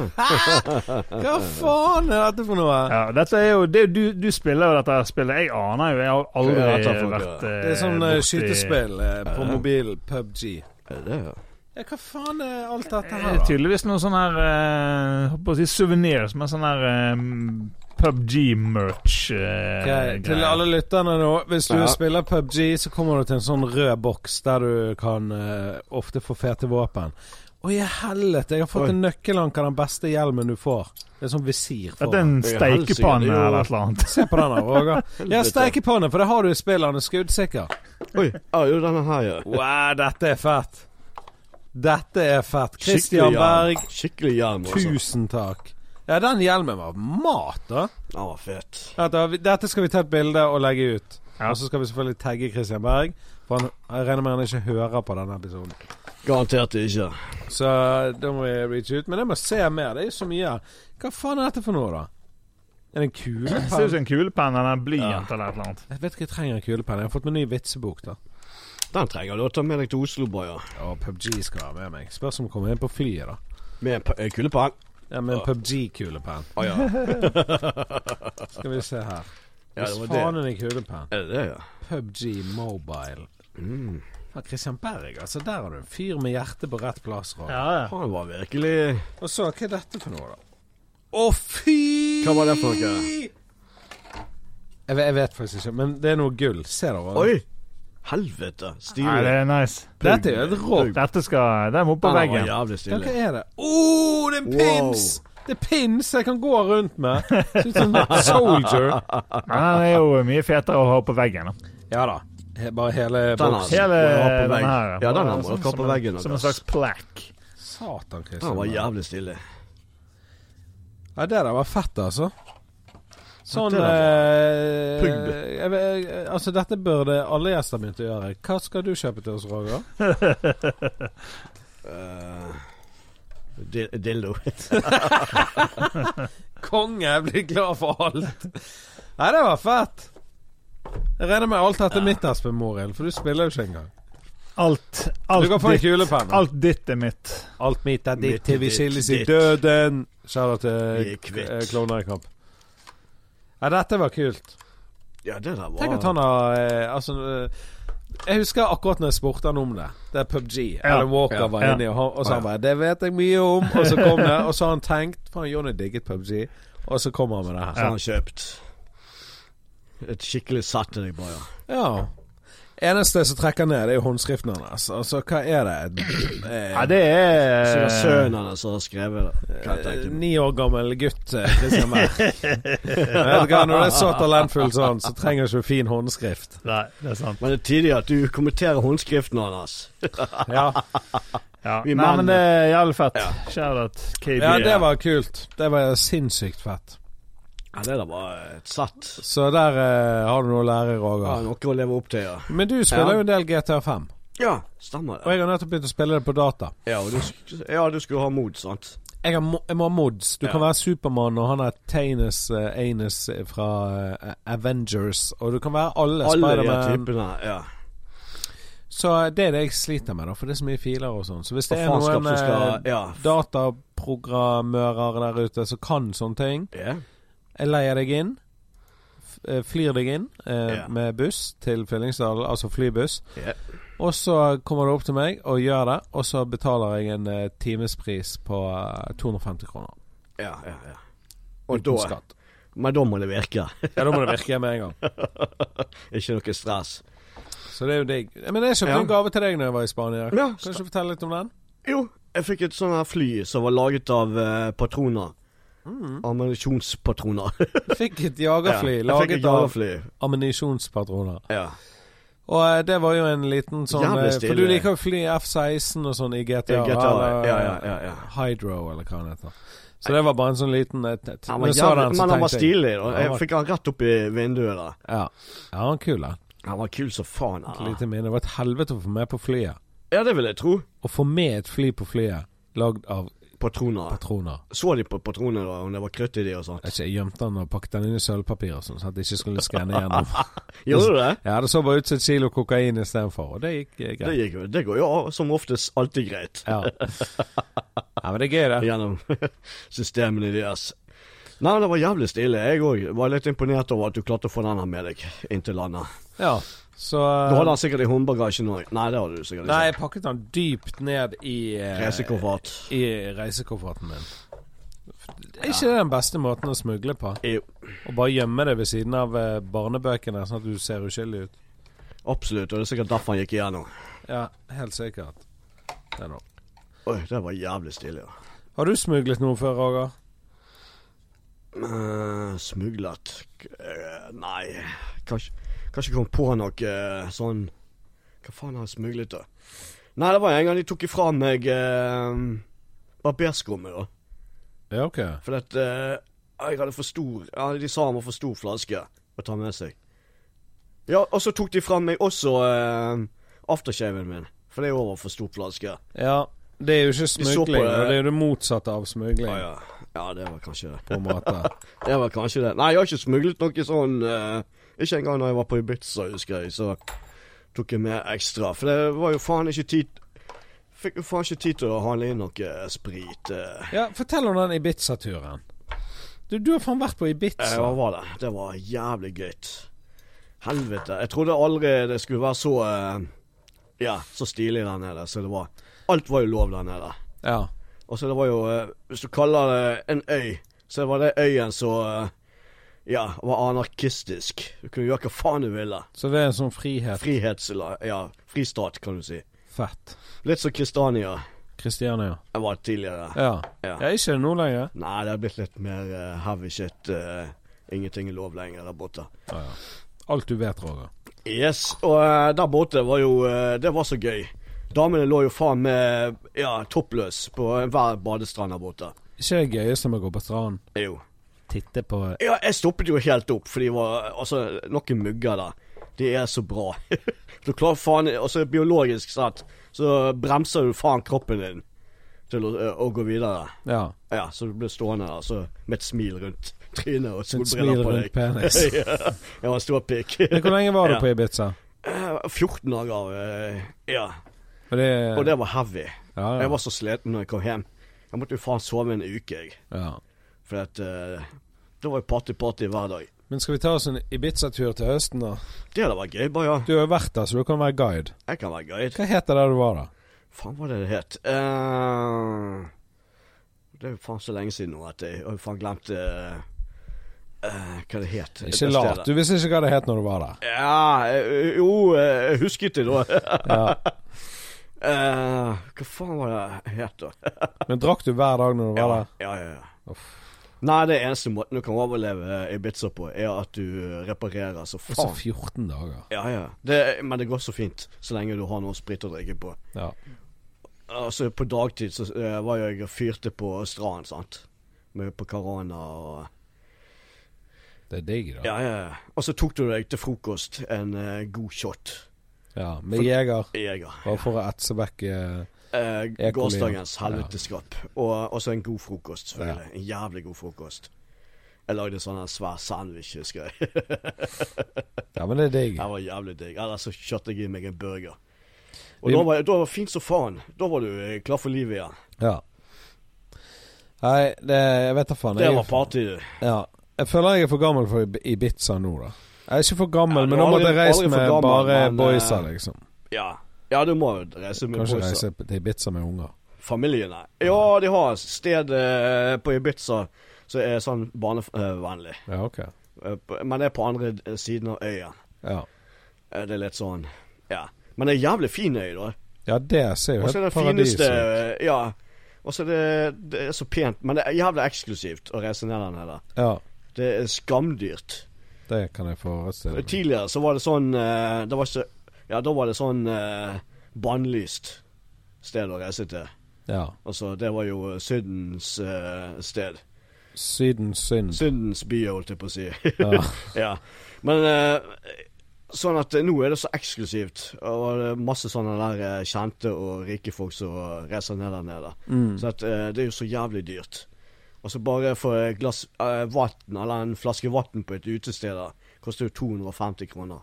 A: Hva faen er dette for noe?
C: Ja, dette er jo, det, er jo- du, du spiller jo dette her spillet. Jeg aner jo, jeg har aldri
B: Ja, takk for
C: vært eh,
A: Det er sånn eh,
C: borti-
A: skytespill eh, på mobilen, PubG.
B: Er det ja?
A: Ja, hva faen er alt dette
C: Det
A: her,
C: er
A: da?
C: tydeligvis noe sånn her eh, holdt på å si souvenir som er sånn her PubG-merch. eh,
A: Ok, til alle lytterne nå, hvis du
B: Ja.
A: spiller PubG, så kommer du til en sånn rød boks der du kan eh, ofte få fete våpen. Å, i helvete, jeg har fått
B: Oi.
A: en nøkkelanke, den beste hjelmen du får. Det er sånn visir
C: Dette er
A: foran.
C: en
B: Det er
C: steikepanne
B: helsike, det er jo-
C: eller et eller annet.
A: *laughs* Se på den, da, Roger. Ja, steikepanne, for det har du i spillet, han er skuddsikker.
B: Oi. Ja, jo, denne her, ja.
A: Wow, dette er fett. Dette er fett.
B: Skikkelig
A: Christian
B: jern.
A: Berg,
B: Skikkelig hjelm, altså.
A: tusen takk. Ja, den hjelmen var mat, da.
B: Den var fet.
A: Dette, dette skal vi ta et bilde og legge ut.
C: Ja.
A: Og så skal vi selvfølgelig tagge Christian Berg. For han, jeg regner med han ikke hører på denne episoden.
B: Garantert ikke.
A: Så da må vi reach ut. Men jeg må se mer. Det er jo så mye her. Hva faen er dette for noe, da? Er det en
C: Det ser ut
A: kulepenn?
C: som en kulepenn eller en blyant eller et eller annet.
A: Jeg vet ikke, jeg trenger en kulepenn. Jeg har fått meg ny vitsebok, da.
B: Den trenger du å ta med deg til Oslo, Boja.
A: Og PubG skal være med meg. Spørs om jeg kommer inn på flyet, da.
B: Med en pa- eh, kulepenn.
A: Ja, med en
B: Ja.
A: PubG-kulepenn.
B: Å ja.
A: Skal vi se her.
B: ja. Det
A: Hvis
B: var
A: faen
B: det.
A: er det en kulepenn.
B: Er det det, ja?
A: PubG Mobile.
B: Mm.
A: Ja, Christian Berg, altså. Der har du en fyr med hjertet på rett plass, Rob.
C: Ja, ja.
B: Han var virkelig
A: Og så, hva er dette for noe, da? Å, fy!
B: Hva var det for noe?
A: Jeg, vet- jeg vet faktisk ikke, men det er noe gull. Se da. hva-
B: Oi! Helvete. Stilig.
C: Nei, det er nice.
A: Dette er jo et rått
C: Dette skal Den må opp på
B: Den var
C: veggen.
B: jævlig
A: Ja,
B: stilig.
A: hva er det? Å, oh, det er en
B: Wow.
A: pins! Det er pins jeg kan gå rundt med. Ser ut som en soldier.
C: Men den er jo mye fetere å ha på veggen. Da.
A: Ja da. He, bare hele
B: Den har-
A: boksen.
C: Hele
B: må ha på
C: denne
B: vegg.
C: her.
B: Ja, den her må
C: Bare sånn
B: dere ha på
C: som en-
B: veggen,
C: Som en
B: Andreas.
C: slags plaque.
A: Satan,
B: Den
A: Christian.
B: var jævlig stilig.
A: Ja, det der var fett, altså. Sånn
B: det der
A: eh,
B: Pugg.
A: jeg, vet- jeg, Altså, dette burde alle gjester begynne å gjøre. Hva skal du kjøpe til oss, Roger?
B: Eh, di- dildo.
A: Konge, jeg blir glad for alt. *laughs* Nei, det var fett. Jeg regner med alt dette er mitt, Espen Morild, for du spiller jo ikke engang.
C: Alt,
A: Du kan
C: alt,
A: få en
C: ditt,
A: kulepenn.
C: alt ditt er mitt.
A: Alt mitt er ditt
B: Mitt
A: til
B: er
A: vi
B: ditt,
A: skilles i
B: ditt.
A: døden. Skjæra
B: Vi
A: til
B: er kvitt.
A: eh, Klovner i kamp. Ja, dette var kult.
B: Ja, det der var sånn
A: Tenk at han har eh, Altså eh, Jeg husker akkurat når jeg spurte han om det. Det er PubG.
C: Ja.
A: Alan Walker
B: Ja.
A: var
C: Ja.
A: inni, og, han, og så
B: Ja.
A: han bare 'Det vet jeg mye om', og så kom det. Og så har han tenkt Faen, Johnny digget PubG. Og så kommer han med det
B: Så
A: her.
B: han har kjøpt. Et skikkelig satt til deg, Boja.
A: Ja. Eneste som trekker ned, det er jo håndskriften hans. Altså, hva er det? Eh,
C: Ja, det
B: Så det
C: er
B: er sønnen hans som har skrevet det. Kan jeg
A: Eh,
B: tenke meg.
A: Ni år gammel gutt, eh, Christian Berg. Jeg vet ikke, Når du er så talentfull som han, så trenger du ikke fin håndskrift.
C: Nei, det er sant.
B: Men det er tidlig at du kommenterer håndskriften hans.
A: Ja,
C: Ja.
B: Vi
C: Nei,
B: menn-
C: men det er jævlig fett. Shout-out KB.
A: ja det var kult. Det var sinnssykt fett.
B: Ja, det der var et satt.
A: Så der eh, har du noe å lære,
B: Ja,
A: Roger.
B: noe å leve opp til, ja.
A: Men du spiller jo en del GTA5,
B: Ja, stemmer det.
A: og jeg har nettopp begynt å spille det på data.
B: Ja, og du, sk- ja, du skulle ha mod, sant?
A: Jeg, har, mo- jeg må ha mods. Du kan
B: Ja.
A: være Supermann, og han er Tainus eh, Anus fra eh, Avengers, og du kan være alle,
B: Alle de her
A: Spiderman.
B: typene. Ja.
A: Så eh, det er det jeg sliter med, da, for det er så mye filer og sånn. Så hvis
B: For
A: det er
B: faenskap som
A: noen eh,
B: skal Ja.
A: dataprogrammører der ute som kan sånne ting.
B: ja.
A: Jeg leier deg inn. f- eh, Flyr deg inn eh,
B: Ja.
A: med buss til Fyllingsdalen, altså flybuss.
B: Ja.
A: Og så kommer du opp til meg og gjør det, og så betaler jeg en eh, timespris på eh, 250 kroner.
B: Ja, ja, ja. Og
A: Uten
B: da,
A: skatt.
B: men da må det virke. *laughs*
A: Ja, da må det virke med en gang.
B: Ikke noe stress.
A: Så det er jo digg. Men jeg kjøpte
B: Ja.
A: en gave til deg når jeg var i Spania.
B: Ja,
A: Kan du ikke fortelle litt om den?
B: Jo, jeg fikk et sånt her fly som var laget av eh, patroner.
A: Mm.
B: Ammunisjonspatroner.
A: Fikk et jagerfly
B: Ja, *laughs* jeg fikk et
A: laget av
B: jagerfly.
A: ammunisjonspatroner.
B: Ja.
A: Og eh, det var jo en liten sånn
B: Jævlig
A: eh, For
B: stilig.
A: du liker jo å fly F-16 og sånn i GTA.
B: I GTA,
A: eller,
B: ja, ja, ja, ja.
A: Hydro, eller hva den heter. Så det var bare en sånn liten et, et.
B: Han
A: når
B: var
A: jeg så
B: jævlig,
A: den, så
B: men han var
A: tenkte jeg-
B: stilig. da.
A: Han var-
B: Jeg fikk han rett opp i vinduet. da
A: Ja. ja, han var kul, da.
B: Han var kul som faen.
A: Et
B: Han.
A: lite minne. Det var et helvete å få med på flyet.
B: Ja, det vil jeg tro.
A: Å få med et fly på flyet lagd av
B: Patroner.
A: patroner.
B: Så de på patronene da, om det var krutt i de og sånt?
A: Jeg vet ikke, jeg gjemte den og pakket den inn i sølvpapir og sånn, så at det ikke skulle skanne gjennom.
B: *laughs* Gjorde du det?
A: Ja, det så bare ut som et kilo kokain istedenfor, og det gikk eh,
B: Det,
A: greit.
B: gikk, jo- det går jo som oftest alltid greit
A: Ja. ja, men det er gøy, det.
B: gjennom *laughs* systemene deres. Nei, det var jævlig stilig. Jeg òg var litt imponert over at du klarte å få den her med deg inn til landet.
A: Ja, så eh,
B: Du hadde den sikkert i håndbagasjen òg. Nei, det hadde du sikkert
A: Nei,
B: ikke.
A: jeg pakket den dypt ned i, eh,
B: Resekoffert.
A: i reisekofferten min. Er ikke det den beste måten å smugle på?
B: Jo,
A: Å bare gjemme det ved siden av eh, barnebøkene, sånn at du ser uskyldig ut?
B: absolutt. Og det er sikkert derfor han gikk igjennom.
A: Ja, helt sikkert. Det er noe.
B: Oi, det var jævlig stilig. Ja.
A: Har du smuglet noe før, Roger?
B: Eh, smuglet Eh, Nei, kanskje, kanskje kom på noe eh, sånn Hva faen har jeg smuglet, da? Nei, det var en gang de tok ifra meg eh, barberskummet, da.
A: Ja, ok.
B: For at, eh, jeg hadde for stor ja, De sa han var for stor flaske å ta med seg. Ja, og så tok de fram meg også eh, aftershaven min. For det er over for stor flaske.
A: Ja, det er jo ikke
B: Vi så på
A: smugling.
B: det.
A: og Det er jo det motsatte av smugling,
B: Ja, ja. ja, det var kanskje
A: *laughs* på en måte.
B: *laughs* Det var kanskje det. Nei, jeg har ikke smuglet noe sånn eh, Ikke engang da jeg var på Ibiza, husker jeg, så tok jeg med ekstra. For det var jo faen ikke tid Fikk jo faen ikke tid til å handle inn noe sprit. eh.
A: Ja, fortell om den Ibiza-turen. Du, du har faen vært på
B: Eh,
A: Ibiza.
B: Hva var det? Det var jævlig gøy. Helvete. Jeg trodde aldri det skulle være så eh, Ja, så stilig der nede. Så det var Alt var jo lov der nede.
A: Ja.
B: Og så det var jo eh, Hvis du kaller det en øy, så var det øyen som eh, Ja, var anarkistisk. Du kunne gjøre hva faen du ville.
A: Så det er en sånn frihet.
B: Frihets... Ja, fristat, kan du si.
A: Fett.
B: Litt som Kristiania
A: Kristiania.
B: jeg var tidligere.
A: Ja.
B: Ja.
A: ja, ikke det nå lenger?
B: Nei, det har blitt litt mer eh, heavy shit. eh, ingenting er lov lenger der borte.
A: Ja, ja. Alt du vet, Roger.
B: Yes, og eh, der borte var jo eh, Det var så gøy. Damene lå jo faen med ja, toppløs på hver badestrand der borte.
A: Ikke det gøyeste med å gå på stranden?
B: Jo.
A: Titte på
B: Ja, jeg stoppet jo helt opp, for de var Altså, noen mugger der. De er så bra. *laughs* du klarer faen Altså, biologisk sett så bremser du faen kroppen din til å, eh, å gå videre.
A: Ja.
B: Ja, så du ble stående der så med et smil rundt trynet og
A: Et smil
B: solbriller på
A: rundt
B: deg.
A: penis.
B: *laughs* ja, jeg var en stor pikk.
A: *laughs* Men hvor lenge var du
B: Ja.
A: på Ibiza?
B: Eh, 14 dager, eh, ja.
A: Og det,
B: Og det var heavy.
A: ja, ja.
B: Jeg var så sliten når jeg kom hjem. Jeg måtte jo faen sove en uke, jeg.
A: ja.
B: For at eh, det var jo party-party hver dag.
A: Men skal vi ta oss en Ibiza-tur til høsten, da?
B: Det hadde vært gøy, bare ja.
A: Du har jo vært der, så du kan være guide.
B: Jeg kan være guide.
A: Hva heter det der du var, da?
B: Faen, hva var det det het? Eh, det er jo faen så lenge siden nå at jeg har faen glemt eh, eh, hva det het.
A: Ikke
B: det
A: lat.
B: stedet.
A: Du visste ikke hva det het når du var der.
B: Ja, eh, jo, *laughs* eh, jeg husket det da.
A: Ja.
B: Eh, hva faen var det het, da?
A: Men drakk du hver dag når du var
B: Ja,
A: der?
B: ja, ja. ja. Nei, det eneste måten du kan overleve eh, Ibiza på, er at du reparerer så
A: Og så
B: faen.
A: 14 dager.
B: Ja, Ah, ja. Det, men det går så fint, så lenge du har noe sprit å drikke på.
A: Ja.
B: Altså, på dagtid så eh, var jeg og fyrte på stranden, sant. Med på Carana og
A: Det er digg, da.
B: Ja, ja. ja. Og så tok du deg til frokost en eh, god shot.
A: Ja, med jeger.
B: Jeger.
A: Bare for å etse vekk eh,
B: Eh,
A: Ekolin.
B: gårsdagens helveteskap. Og og så en god frokost, selvfølgelig. En jævlig god frokost. Jeg lagde sånn en svær sandwich, husker
A: *laughs*
B: jeg.
A: Ja, men det er digg.
B: Det var jævlig digg. Ellers så kjørte jeg i meg en burger. Og
A: Vi-
B: da var, da var det fint som faen. Da var du eh, klar for livet igjen.
A: Ja. Nei, det, jeg vet da faen.
B: Det
A: Jeg,
B: var party. du.
A: ja. jeg føler jeg er for gammel for Ib- Ibiza nå, da. Jeg er ikke for gammel,
B: Ja, du
A: men nå
B: er
A: måtte jeg
B: aldri-
A: reist
B: aldri for
A: med
B: gammel,
A: bare
B: men, eh,
A: boysa, liksom.
B: Ja. ja, du må jo reise med
A: Kanskje
B: boysa.
A: reise til Ibiza med unger.
B: familiene. Ja, de har et sted eh, på Ibiza som er sånn barnevennlig.
A: Ja, ok.
B: Eh, på- Men det er på andre eh, siden av øya.
A: Ja,
B: Eh, Det er litt sånn Ja. Men det er en jævlig fin øy, da.
A: ja det ser jo
B: Og så er det
A: helt paradis
B: fineste eh,
A: ut.
B: Ja. Og så er det, det er så pent, men det er jævlig eksklusivt å reise ned der nede.
A: Ja,
B: Det er skamdyrt.
A: det kan jeg forestille meg.
B: Tidligere så var det sånn eh, Det var ikke Ja, da var det sånn eh, bannlyst sted å reise til.
A: Ja.
B: Altså, det var jo Sydens eh, sted.
A: Sydens synd.
B: Sydens by, holdt jeg på å si. *laughs*
A: Ja.
B: ja. Men eh, sånn at eh, nå er det så eksklusivt, og det er masse sånne der eh, kjente og rike folk som reiser ned der nede.
A: Mm.
B: Så at, eh, det er jo så jævlig dyrt. Og så bare for et glass eh, vann, eller en flaske vann på et utested, da, koster jo 250 kroner.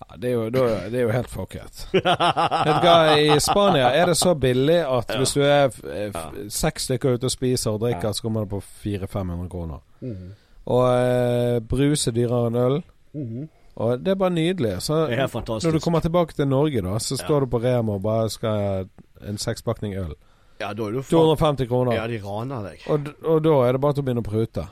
A: Ja, det, er jo, da- det er jo helt
B: *laughs*
A: fucket. Vet du hva, I Spania er det så billig at hvis du er f- eh, f- seks stykker ute og spiser og drikker, så kommer det på 400-500 kroner. Og eh, brus er dyrere enn øl. Og det er bare nydelig. Så
B: Det er helt
A: Mm-hmm. når du
B: fantastisk.
A: kommer tilbake til Norge, da, så står du på Rema og bare skal ha en sekspakning øl.
B: Ja, da er du faen
A: 250 kroner.
B: Ja, de raner deg.
A: Og, d- og da er det bare til å begynne å prute.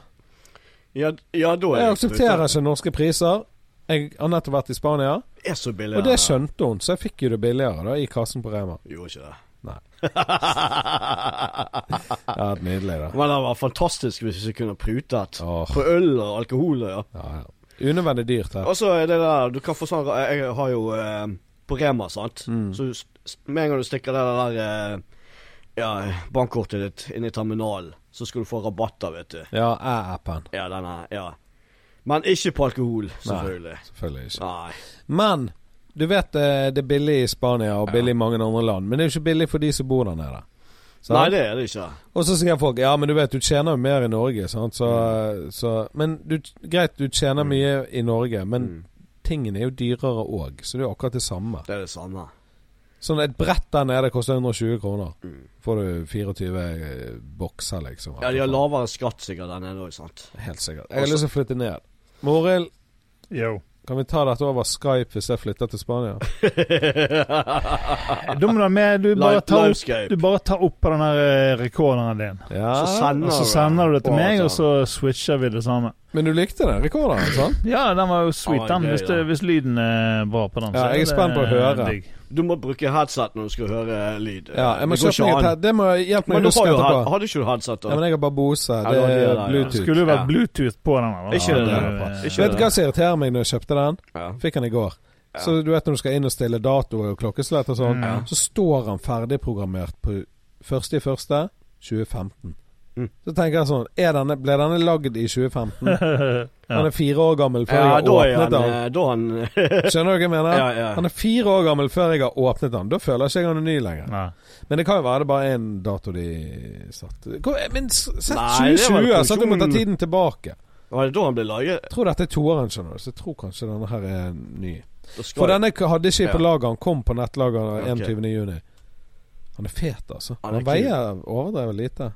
B: Ja, d- ja da er
A: Jeg
B: du
A: aksepterer
B: ute.
A: ikke norske priser. Jeg har nettopp vært i Spania,
B: Det er så billig.
A: og det
B: der.
A: skjønte hun, så jeg fikk jo det billigere da i kassen på Rema.
B: Gjorde ikke det. *laughs*
A: Nei.
B: Men
A: Ja, nydelig, da.
B: det var fantastisk hvis vi kunne prutet.
A: Åh,
B: På øl og alkohol, ja.
A: ja, ja. Unødvendig dyrt her.
B: Og så er det der Du kan få sånn Jeg har jo eh, på Rema, sant.
C: Mm.
B: Så s- s- med en gang du stikker det der eh, ja, bankkortet ditt inn i terminalen, så skal du få rabatter, vet du.
A: Ja, æ-appen.
B: Ja, den er Ja. Men ikke på alkohol, selvfølgelig.
A: Selvfølgelig ikke.
B: Nei.
A: Men du vet eh, det er billig i Spania og billig i mange andre land. Men det er jo ikke billig for de som bor der nede. Sant?
B: Nei, det er det ikke.
A: Og så sier folk ja, men du vet du tjener jo mer i Norge. Sant? Så, så, men du, greit, du tjener
B: Mm.
A: mye i Norge, men
B: Mm.
A: tingene er jo dyrere òg. Så det er jo akkurat det samme.
B: Det er det samme.
A: Sånn Et brett der nede koster 120 kroner.
B: Mm.
A: Får du 24 eh, bokser, liksom.
B: Ja, de har lavere skatt sikkert der nede òg, sant.
A: Helt sikkert. Jeg har lyst til å flytte ned. Morild,
C: Yo.
A: kan vi ta dette over Skype hvis jeg flytter til Spania?
B: *laughs*
C: Da må du ha med Du bare
B: Live-
C: tar opp,
B: Livescape.
C: du bare tar opp på den her rekorderen din.
A: Ja.
B: Så sender
C: Og så sender du det til meg, og
A: altså.
C: så switcher vi det samme.
A: Men du likte den rekorden, sant?
C: Ja, den var jo sweet,
B: Ja,
C: den.
B: gøy,
C: Hvis, det,
B: da.
C: hvis lyden er bra på den.
A: Ja,
C: så
A: jeg er
C: det
A: spent på å høre.
C: digg.
B: Du må bruke headset når du skal høre lyd.
A: Ja, jeg må
B: det går
A: kjøpe meg
B: ikke
A: et
B: an.
A: he- Det må jeg hjelpe meg
B: Men
A: å
B: du
A: huske
B: har jo head-
A: etterpå.
B: Hadde ikke du headset, da?
A: Ja, men jeg har bare Bose.
B: Ja,
A: Det
B: du har det,
A: er
B: ja, ja.
C: Det
A: Bluetooth.
C: skulle jo vært
B: Ja.
C: Bluetooth på den. eller?
B: Ikke det,
C: Ja,
B: det er bra. Ikke
A: Vet du hva som irriterer meg når jeg kjøpte den?
B: Ja.
A: Fikk den i går.
B: Ja.
A: Så du vet når du skal inn og stille dato og klokkeslett og sånn,
C: Mm.
A: så står han ferdigprogrammert på 1.1.2015.
B: Mm.
A: Så tenker jeg sånn er denne, Ble denne lagd i
B: *laughs*
A: 2015? Han er fire år gammel før
B: Ja,
A: jeg
B: da
A: har
B: er han
A: åpnet den.
B: eh, Da er han
A: Skjønner du hva jeg mener?
B: Ja, ja.
A: Han er fire år gammel før jeg har åpnet den. Da føler jeg ikke han er ny lenger.
C: Nei.
A: Men det kan jo være det bare er en dato de satte Hvor- Men s- sett
B: Nei, det var
A: 2020, så at du må ta
B: konklusjonen.
A: tiden tilbake.
B: Var det da han ble laget?
A: Jeg tror dette er toeren, skjønner du, så jeg tror kanskje denne her er ny.
B: Da skal
A: For denne k- hadde ikke jeg på
B: Ja.
A: lager, han kom på nettlager
B: Ok.
A: 21.6. Han er fet, altså.
B: Han
A: Han,
B: er
A: veier overdrevet lite.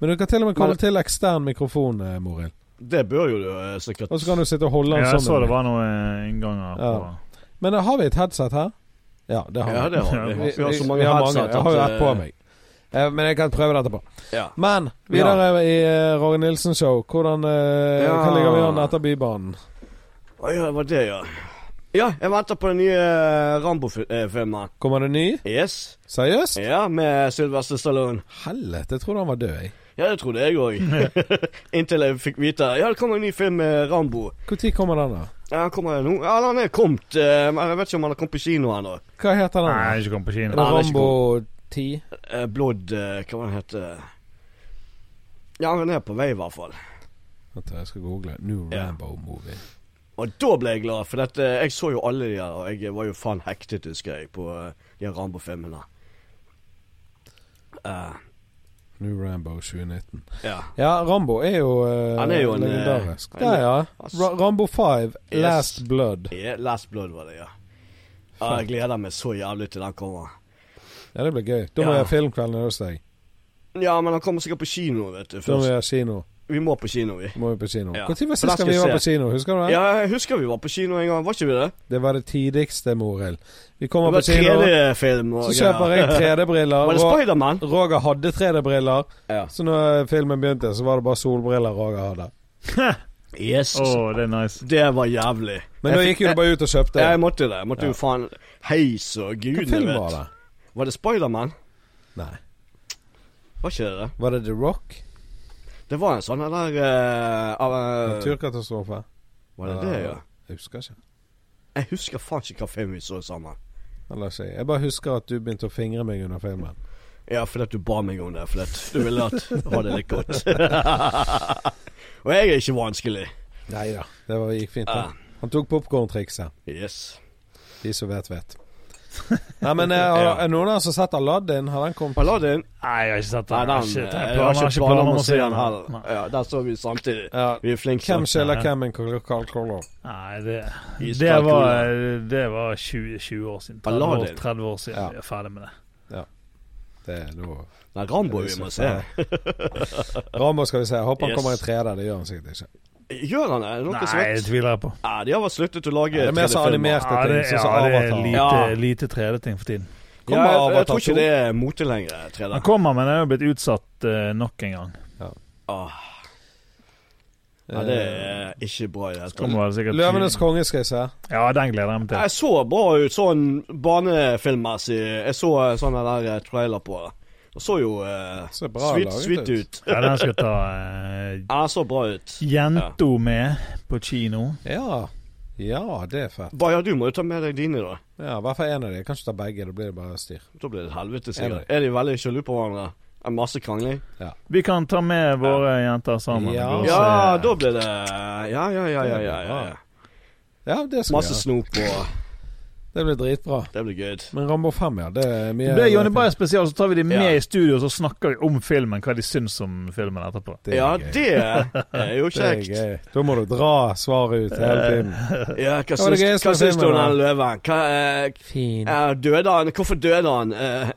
A: Men du kan til og med koble
B: Men-
A: til ekstern mikrofon, eh, Morild.
B: Det bør jo du eh, sikkert
A: Og så kan du sitte og holde den
C: Ja, jeg så det
A: sammen.
C: var noen eh, innganger på
A: Ja. Men eh, har vi et headset her? Ja, det har
B: Ja,
A: vi.
B: det har
C: Ja,
B: vi.
A: Vi,
B: Vi har så mange
A: vi har
B: headset.
A: mange. Jeg har jo
B: at,
A: ett på
B: eh,
A: meg. Eh, Men jeg kan prøve det etterpå.
B: Ja.
A: Men videre i eh, Roger Nilsen Show. Hvordan eh,
B: Ja.
A: Hva ligger vi an etter Bybanen?
B: Å ja, det var det, ja. Ja, jeg venter på den nye eh, Rambo-filmen.
A: Kommer det ny?
B: Yes.
A: Seriøst?
B: Ja, med Sylvester Stallone.
A: Helvete, jeg trodde han var død, jeg.
B: Ja, det trodde jeg
A: *laughs*
B: òg. *laughs* Inntil jeg fikk vite Ja, det kommer en ny film med Rambo.
A: Når kommer den, da?
B: Ja, han kommer nå. Ja, han er kommet. eh, Men jeg vet ikke om han har kommet på kino ennå.
A: Hva heter den?
C: Nei,
A: da?
C: jeg er ikke kommet på
A: Er
C: kino.
A: det
B: Nei, den er ikke
A: Rambo 10?
B: Eh, Blood eh, Hva var den het? Ja, han er på vei, i hvert fall.
A: Vent, jeg skal google. New
B: Ja.
A: Rambo-movie.
B: Og da ble jeg glad, for dette, jeg så jo alle de her, og jeg var jo faen hektet, husker jeg, på eh, de her Rambo-filmene. Eh,
A: New Rambo 2019.
B: ja.
A: Ja, Rambo er jo eh,
B: Han er jo en,
A: legendarisk.
B: eh,
A: Der, ja.
B: ass.
A: Ra Rambo 5,
B: Yes.
A: Last Blood.
B: Ja, Last Blood var det, ja. Ja, jeg gleder meg så jævlig til den kommer.
A: Ja, det blir gøy. Da må
B: Ja.
A: jeg ha filmkveld nede hos deg.
B: Ja, men han kommer sikkert på kino, vet du.
A: Da må
B: Først.
A: jeg ha kino.
B: Vi må på kino, vi.
A: Da Må vi på kino.
B: Ja.
A: Når var
B: For da
A: sist
B: skal
A: gang vi
B: vi
A: var på
B: se.
A: kino? Husker du det?
B: Ja, jeg husker vi var på kino en gang, var ikke vi det?
A: Det var det tidligste, Morild. Vi
B: Det
A: kommer på
B: var
A: kino.
B: 3D-film og
A: Så kjøper jeg 3D-briller.
B: Var det
A: Ro-
B: Spiderman?
A: Roger hadde 3D-briller,
B: Ja.
A: så når filmen begynte, så var det bare solbriller Roger hadde.
B: Yes.
C: Å, det er nice.
B: Det var jævlig.
A: Men da gikk jo du bare ut og kjøpte.
B: Ja, jeg måtte det. Jeg måtte
A: Ja.
B: jo faen heis og
A: Hva
B: gudene
A: film
B: vet.
A: var det?
B: Var det Spiderman?
A: Nei.
B: Var ikke det det?
A: Var det The Rock?
B: Det var en sånn der eh, av, eh,
A: Naturkatastrofe? Eh,
B: Var det det, ja?
A: Jeg husker ikke.
B: Jeg husker faen ikke hva film vi så sammen.
A: Eller ikke. Jeg bare husker at du begynte å fingre meg under filmen.
B: Ja, fordi at du ba meg om det. Fordi at du ville at *laughs* ha det litt godt. Og jeg er ikke vanskelig.
A: Nei da. Det var, gikk fint.
B: Ah,
A: da. Han tok popkorntrikset.
B: yes.
A: De som vet, *laughs* vet. Nei, men eh, har, er noen av oss som har sett Aladdin? Har den kommet?
B: Aladdin
C: Nei, jeg har ikke sett
B: Nei,
C: den.
B: den, eh,
C: Jeg
B: jeg har ikke planer om å se den heller.
C: Nei.
B: Ja, der så vi samtidig.
A: Ja.
B: Vi er flinke.
A: Hvem skiller hvem en kalkuler?
C: Nei, det,
B: Iskald
C: det var,
B: cola.
C: det var 20, 20 år siden. 30 år,
B: Aladdin.
C: 30 år siden
A: Ja.
C: vi er ferdig med det.
A: Det er da
B: Nei, Rambo vi må se.
A: *laughs* Rambo skal vi se. Jeg håper han
B: Yes.
A: kommer i 3D. Det gjør han sikkert ikke.
B: Gjør han det? Er det Noe
C: Nei,
B: som
C: det
B: vet?
C: tviler jeg på.
B: Ja, de har vel sluttet å lage
A: Det er mer så
B: telefilmer.
A: animert.
C: Ja, det,
A: ting, sånn
C: ja,
A: som
C: det er
A: Avatar.
C: lite,
B: Ja.
C: lite 3D-ting for tiden.
B: Ja,
A: Kommer
B: jeg, jeg
A: Avatar
B: tror ikke
A: 2?
B: det er mote lenger, 3D.
C: Den kommer, men den er jo blitt utsatt eh, nok en gang.
B: Ah, ja, det er ikke bra i det hele tatt.
C: Kommer vel sikkert
A: Eh, Løvenes konge Mm. skal jeg se.
C: Ja, den gleder jeg meg til.
B: Jeg så bra ut sånn barnefilmmessig. Jeg så eh, sånn den der eh, trailer på. Det så jo eh,
A: Så bra
B: sweet,
A: laget
B: sweet ut.
C: Ja, den skal jeg ta eh,
B: Ja, den så bra ut.
C: jenta med på kino.
A: Ja. ja, det er fett.
B: Baja, du må jo ta med deg dine, da.
A: Ja, I hvert fall én av de. Jeg kan ikke ta begge, da blir det bare styr.
B: Da blir det helvete,
A: Enig.
B: sikkert. Er de veldig sjalu på hverandre? Det er Masse krangling.
C: Vi kan ta med våre jenter sammen.
A: Ja.
C: og gå og
B: Ja,
C: se.
B: da blir det Ja, ja, ja, ja. ja, ja.
A: Ja, det skal
B: Masse
A: vi gjøre.
B: snop og
A: Det blir dritbra.
B: Det blir good.
A: Men Rambo 5, ja. Det er mye
C: Det blir Johnny Bayer spesial, så tar vi de med
B: Ja.
C: i studio og så snakker vi om filmen, hva de syns om filmen etterpå.
A: Det er
B: Ja,
A: gøy.
B: det er jo
A: *laughs* Det er
B: kjekt. Eh,
A: gøy. Da må du dra svaret ut hele tiden.
B: Ja, hva
A: var det
B: syns,
A: gøyeste
B: hva syns
A: filmen,
B: du om
A: da.
B: den løven? Hva, eh,
A: Fin.
B: eh, døde han? Hvorfor døde han? Eh,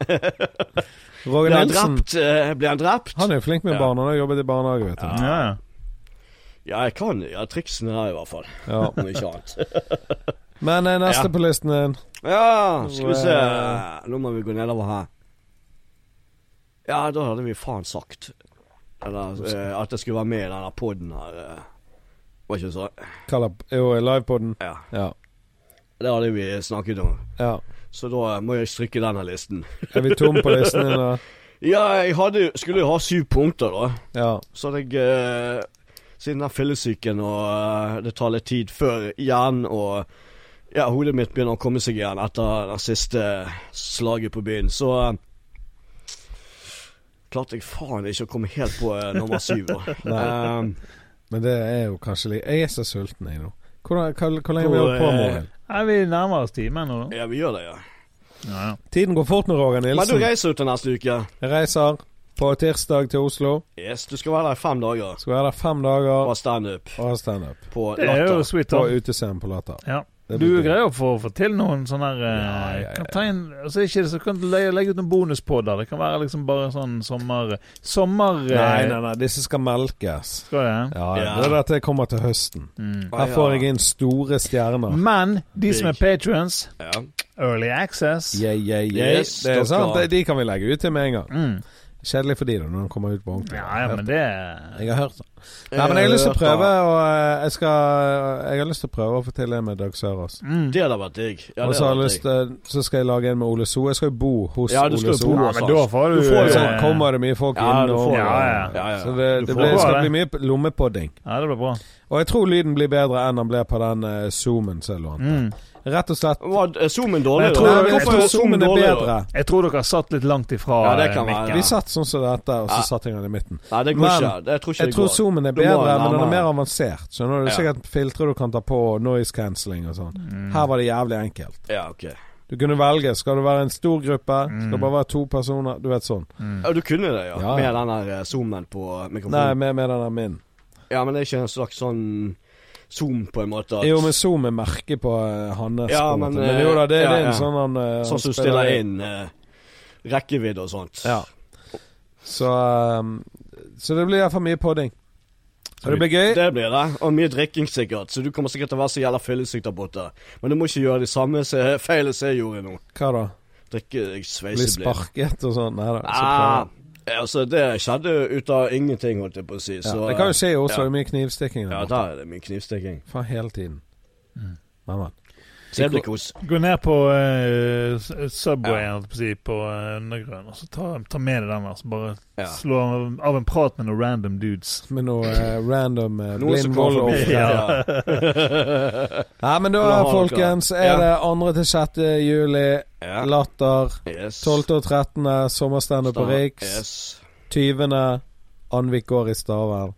A: Roger
B: ble han
A: Nilsen.
B: drept? Eh, ble han drept?
A: Han er flink med
B: Ja.
A: barn. Han har jobbet i barnehage, vet du.
B: Ja.
C: Ja, ja.
B: Ja, jeg kan ja, triksene her, i hvert fall.
A: Ja.
B: Om ikke annet.
A: Men eh, neste
B: Ja.
A: på listen din
B: Ja, skal vi se.
A: Wow.
B: Nå må vi gå nedover her. Ja, da hadde vi faen sagt Eller, eh, at jeg skulle være med i denne poden her. eh. Var ikke så
A: kaller Jo, eh, livepoden.
B: Ja.
A: Ja.
B: Det hadde vi snakket om.
A: ja.
B: Så da må jeg stryke denne listen.
A: Er vi tom på listen din, da?
B: Ja, jeg hadde, skulle jo ha syv punkter, da.
A: Ja.
B: Så hadde jeg eh, Siden den fyllesyken og eh, det tar litt tid før hjernen og ja, hodet mitt begynner å komme seg igjen etter det siste slaget på byen, så eh, klarte jeg faen ikke å komme helt på eh, nummer syv. da.
A: Nei.
B: Ehm,
A: Men det er jo kanskje litt Jeg er så sulten, jeg nå. Hvordan, hva, hvor lenge har vi
B: Hvor,
A: holdt på,
B: eh,
A: Morgan?
C: Nei, vi nærmer oss timen nå. da.
B: ja, vi gjør det, ja.
C: Ja, ja.
A: Tiden går fort med Roger
B: Men du
A: Nilsen.
B: reiser ut til neste uke.
A: Jeg reiser på tirsdag til Oslo.
B: Yes, Du skal være der i fem dager
A: Skal være der fem dager
B: og ha standup
A: og ha standup.
B: på
C: Det er jo
B: Latter.
C: sweet. da.
A: Og utescenen på Latter.
C: Ja.
A: Det
C: Du
A: blir gøy.
C: greier å få, få til noen sånne her
A: Ja, ja,
C: eh,
A: ja.
C: kan ta inn, altså ikke, det, Så kan du legge, legge ut noen bonuspodder. Det kan være liksom bare sånn sommer... Sommer... eh,
A: Nei, nei, nei. Disse skal melkes.
C: Skal det?
A: Ja, ja.
B: Ja.
A: Det er dette jeg kommer til høsten.
C: Mm.
B: Ah,
A: Her
B: ja.
A: får jeg inn store
B: Ah,
A: stjerner.
C: Men de som er patrons,
B: Ja.
C: early access
A: Yeah, yeah, yeah.
B: Yes,
A: det er
B: dere.
A: sant. De, de kan vi legge ut til med en gang.
C: mm.
A: Kjedelig for de da, når de kommer ut på ordentlig.
C: Ja, ja, men det
A: Jeg har hørt det. Nei, men jeg har lyst til å
B: hørte-
A: prøve, og eh, jeg skal Jeg har lyst til å prøve å få til det med Dag Sørås.
C: mm.
B: Det hadde vært digg. Ja,
A: og
B: det
A: så,
B: hadde
A: har
B: vært
A: jeg lyst,
B: digg.
A: til- så skal jeg lage en med Ole So. Jeg skal jo bo hos
B: Ja, du skal jo
A: Ole So.
B: bo
C: Ja, men da får du,
B: Du får jo sånn
A: Og så
C: eh,
A: sånn, kommer det mye folk
B: Ja, du
A: innom.
B: får
C: Ja, ja.
B: Ja, ja.
A: Så det,
B: Du
A: det,
B: får
A: blir,
C: det.
A: skal bli mye lommepodding.
C: Ja, det blir bra.
A: Og jeg tror lyden blir bedre enn den blir på den eh, zoomen som jeg lånte.
C: Mm.
A: Rett og slett.
B: Var eh, zoomen
A: Nei,
B: dårlig,
A: jeg
B: da?
A: tror, jeg,
B: Hvorfor
A: tror
B: er
A: zoomen er
B: dårlig, da?
A: bedre.
C: Jeg tror dere har satt litt langt ifra
B: Ja, det kan være,
C: eh, mikken.
B: Ja.
A: Vi satt sånn som dette, og så
B: Ja.
A: satt jeg den i midten.
B: Nei, det går
A: Men-
B: ikke. Det- Jeg tror ikke
A: Jeg
B: det
A: tror
B: går.
A: zoomen er
B: Du må
A: bedre, men den er
B: nærmere.
A: mer avansert. Skjønner du? Det er
B: Ja.
A: sikkert filtre du kan ta på, og noise cancelling og sånn.
C: Mm.
A: Her var det jævlig enkelt.
B: Ja, ok.
A: Du kunne velge. Skal det være en stor gruppe? Skal det
C: Mm.
A: bare være to personer? Du vet sånn.
C: Mm.
B: Ja, du kunne det, ja.
A: Ja, ja.
B: Med den der eh, zoomen på
A: Nei,
B: mikrofonen.
A: med, med den der min.
B: Ja, men det er ikke en slags sånn zoom, på en måte. at-
A: Jo, men zoom er merket på eh, hans.
B: Ja,
A: på en
B: men,
A: måte. men
B: eh,
A: jo da, det,
B: ja,
A: det er
B: ja.
A: en sånn han eh,
B: sånn som du
A: spiller
B: stiller inn eh, rekkevidde og sånt.
A: Ja. Så, eh, så det blir iallfall mye podding. Så det blir gøy.
B: Det blir det. Og mye drikking, sikkert. Så du kommer sikkert til å være så jævla fyllesyk der borte. Men du må ikke gjøre de samme se- *laughs* feilene som jeg gjorde nå.
A: Hva da?
B: Drikke deg
A: Bli
B: sveiseblind.
A: sparket og sånn? Nei da. så
B: Ah,
A: prøver jeg.
B: altså, det skjedde jo ut av ingenting, holdt jeg på å si.
A: Ja,
B: Så
A: det kan jo skje i
B: ja.
A: Oslo. Det er mye knivstikking
B: Ja,
A: der. borte.
B: der er det mye knivstikking.
A: Faen, hele tiden.
C: Mm.
A: Men, men.
B: Så det blir kos.
C: Gå ned på eh, s- Subwayen
B: Ja.
C: holdt jeg på, å si, på eh, Undergrunn, og så ta, ta med deg den der. Så bare
B: Ja.
C: slå av en prat med noen random dudes.
A: Med noe eh, random uh,
B: Noen som
A: blind
B: går
A: vold og
B: forbi.
A: ja. *laughs*
B: Ja.
A: men da,
B: Eller har dere-
A: folkens, er
B: Ja.
A: det 2. til 6. juli.
B: Ja.
A: Latter.
B: Yes.
A: 12. og 13. sommerstandup på
B: Sta-
A: Riks.
B: Yes.
A: 20. Anvik går i Stavern.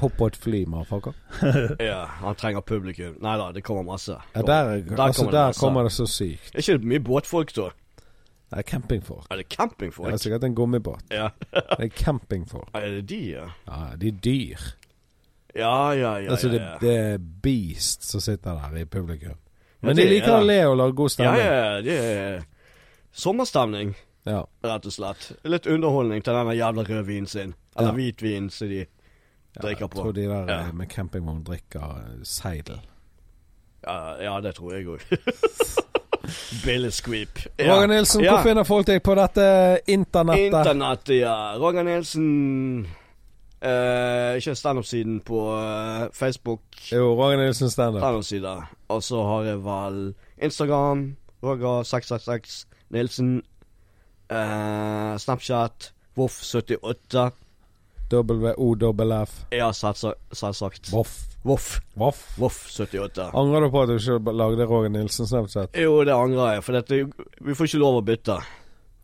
A: Hopp på et fly, motherfucker.
B: Ja, han trenger publikum. Nei da, det kommer masse.
A: Ja, der,
B: kommer
A: altså,
B: det
A: der
B: masse.
A: kommer det så sykt.
B: Er ikke det mye båtfolk, da?
A: Det er campingfolk.
B: Er det
A: Det er
B: campingfolk?
A: sikkert en gummibåt.
B: Ja.
A: Det er campingfolk.
B: Er det de, ja?
A: Ja, de er dyr.
B: Ja, ja, ja.
A: altså,
B: ja,
A: det,
B: ja.
A: det er beast som sitter der i publikum.
B: Ja,
A: Men
B: det
A: de liker
B: er
A: å
B: det.
A: le og lage god
B: ja,
A: stemning.
B: ja, det er sommerstemning,
A: Ja.
B: rett og slett. Litt underholdning til denne jævla rødvinen sin. Eller
A: Ja.
B: hvitvinen som de drikker
A: Jeg
B: på.
A: tror de der
B: Ja.
A: eh, med campingvogn drikker eh, seidel.
B: Ja, ja, det tror jeg òg. *laughs* Billy Squeep.
A: Roger Nilsen, hvor
B: Ja.
A: finner folk deg på dette eh, internettet?
B: Internettet, ja. Roger Nilsen eh, Ikke standup-siden på eh, Facebook.
A: jo, Roger Nilsen standup.
B: Standup-side. Og så har jeg vel Instagram. Roger666 Nilsen. Eh, Snapchat. Voff78.
A: WOWF.
B: Ja, selvsagt- selvsagt.
A: Voff.
B: Voff.
A: Voff.
B: Voff78.
A: Angrer du på at du ikke lagde Roger Nilsen Snapchat?
B: Jo, det angrer jeg, for dette, vi får ikke lov å bytte.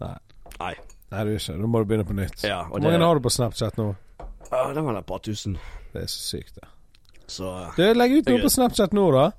A: Nei.
B: Nei.
A: Nei, du er ikke. Da må du begynne på nytt.
B: Ja, og
A: Hvor
B: det,
A: mange har du på Snapchat nå?
B: ja, den var der på 1000.
A: Det er så sykt, det.
B: Så
A: Du, legg ut noe på Snapchat nå, da.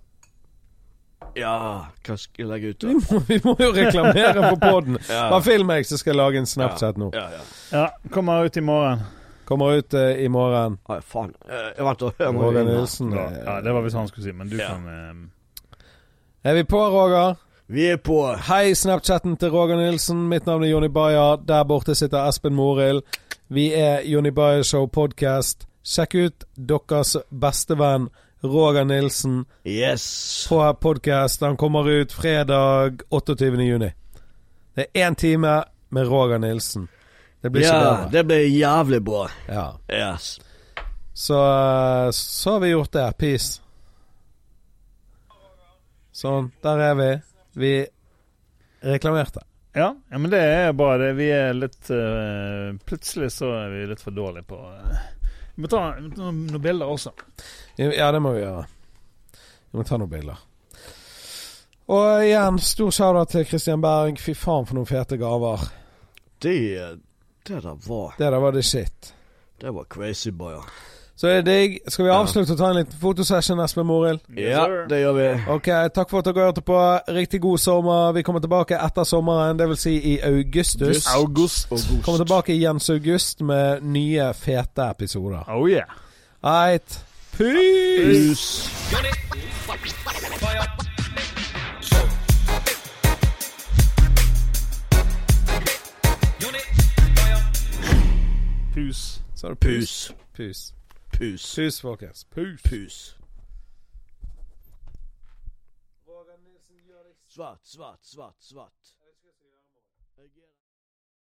A: *laughs*
B: ja, hva skal jeg legge ut,
A: Vi
B: da?
A: må, vi må jo reklamere for poden.
B: Ja.
A: Bare film meg, så skal jeg lage en Snapchat nå.
B: Ja, ja.
C: Ja, kommer ut i morgen.
A: Kommer ut eh, i morgen.
B: Ai, faen. Eh, vent, da. Jeg må
A: Roger
B: ringe.
A: Nilsen.
C: Bra.
A: eh,
C: Ja, det var hvis han skulle si, men du
B: Ja.
C: kan eh,
A: Er vi på, Roger?
B: Vi er på.
A: Hei, Snapchatten til Roger Nilsen. Mitt navn er Jonny Bayer. Der borte sitter Espen Morild. Vi er Jonny Bayer Show Podcast. Sjekk ut deres bestevenn Roger Nilsen
B: Yes.
A: på podkast. Han kommer ut fredag 28. juni. Det er én time med Roger Nilsen. Det blir
B: Ja,
A: ikke bedre.
B: det ble jævlig bra.
A: Ja.
B: Yes.
A: Så, eh, så har vi gjort det. Peace. Sånn. Der er vi. Vi reklamerte.
C: Ja, ja, men det er bra. Det. Vi er litt eh, Plutselig så er vi litt for dårlige på eh, Vi må ta vi må ta noen bilder også.
A: Ja, det må vi gjøre. Vi må ta noen bilder. Og igjen, stor shout-out til Christian Berg. Fy faen for noen fete gaver.
B: Det, det der var
A: Det der var det shit.
B: Det var crazy, boy.
A: Så det er digg. Skal vi
B: Ja.
A: avslutte og ta en liten fotosession, Espen Morild?
B: Ja, det gjør vi.
A: Ok, takk for at dere hørte på. Riktig god sommer. Vi kommer tilbake etter sommeren, dvs. Si i augustus.
C: August.
A: Kommer tilbake i Jens August med nye, fete episoder.
C: Oh yeah.
A: Eit. Peace!
B: Hus.
C: Pus.
A: Så er det pus.
B: Pus.
A: Pus.
B: Pus.
A: Pus, folkens. Pus.
B: Pus. Svart, svart, svart, svart.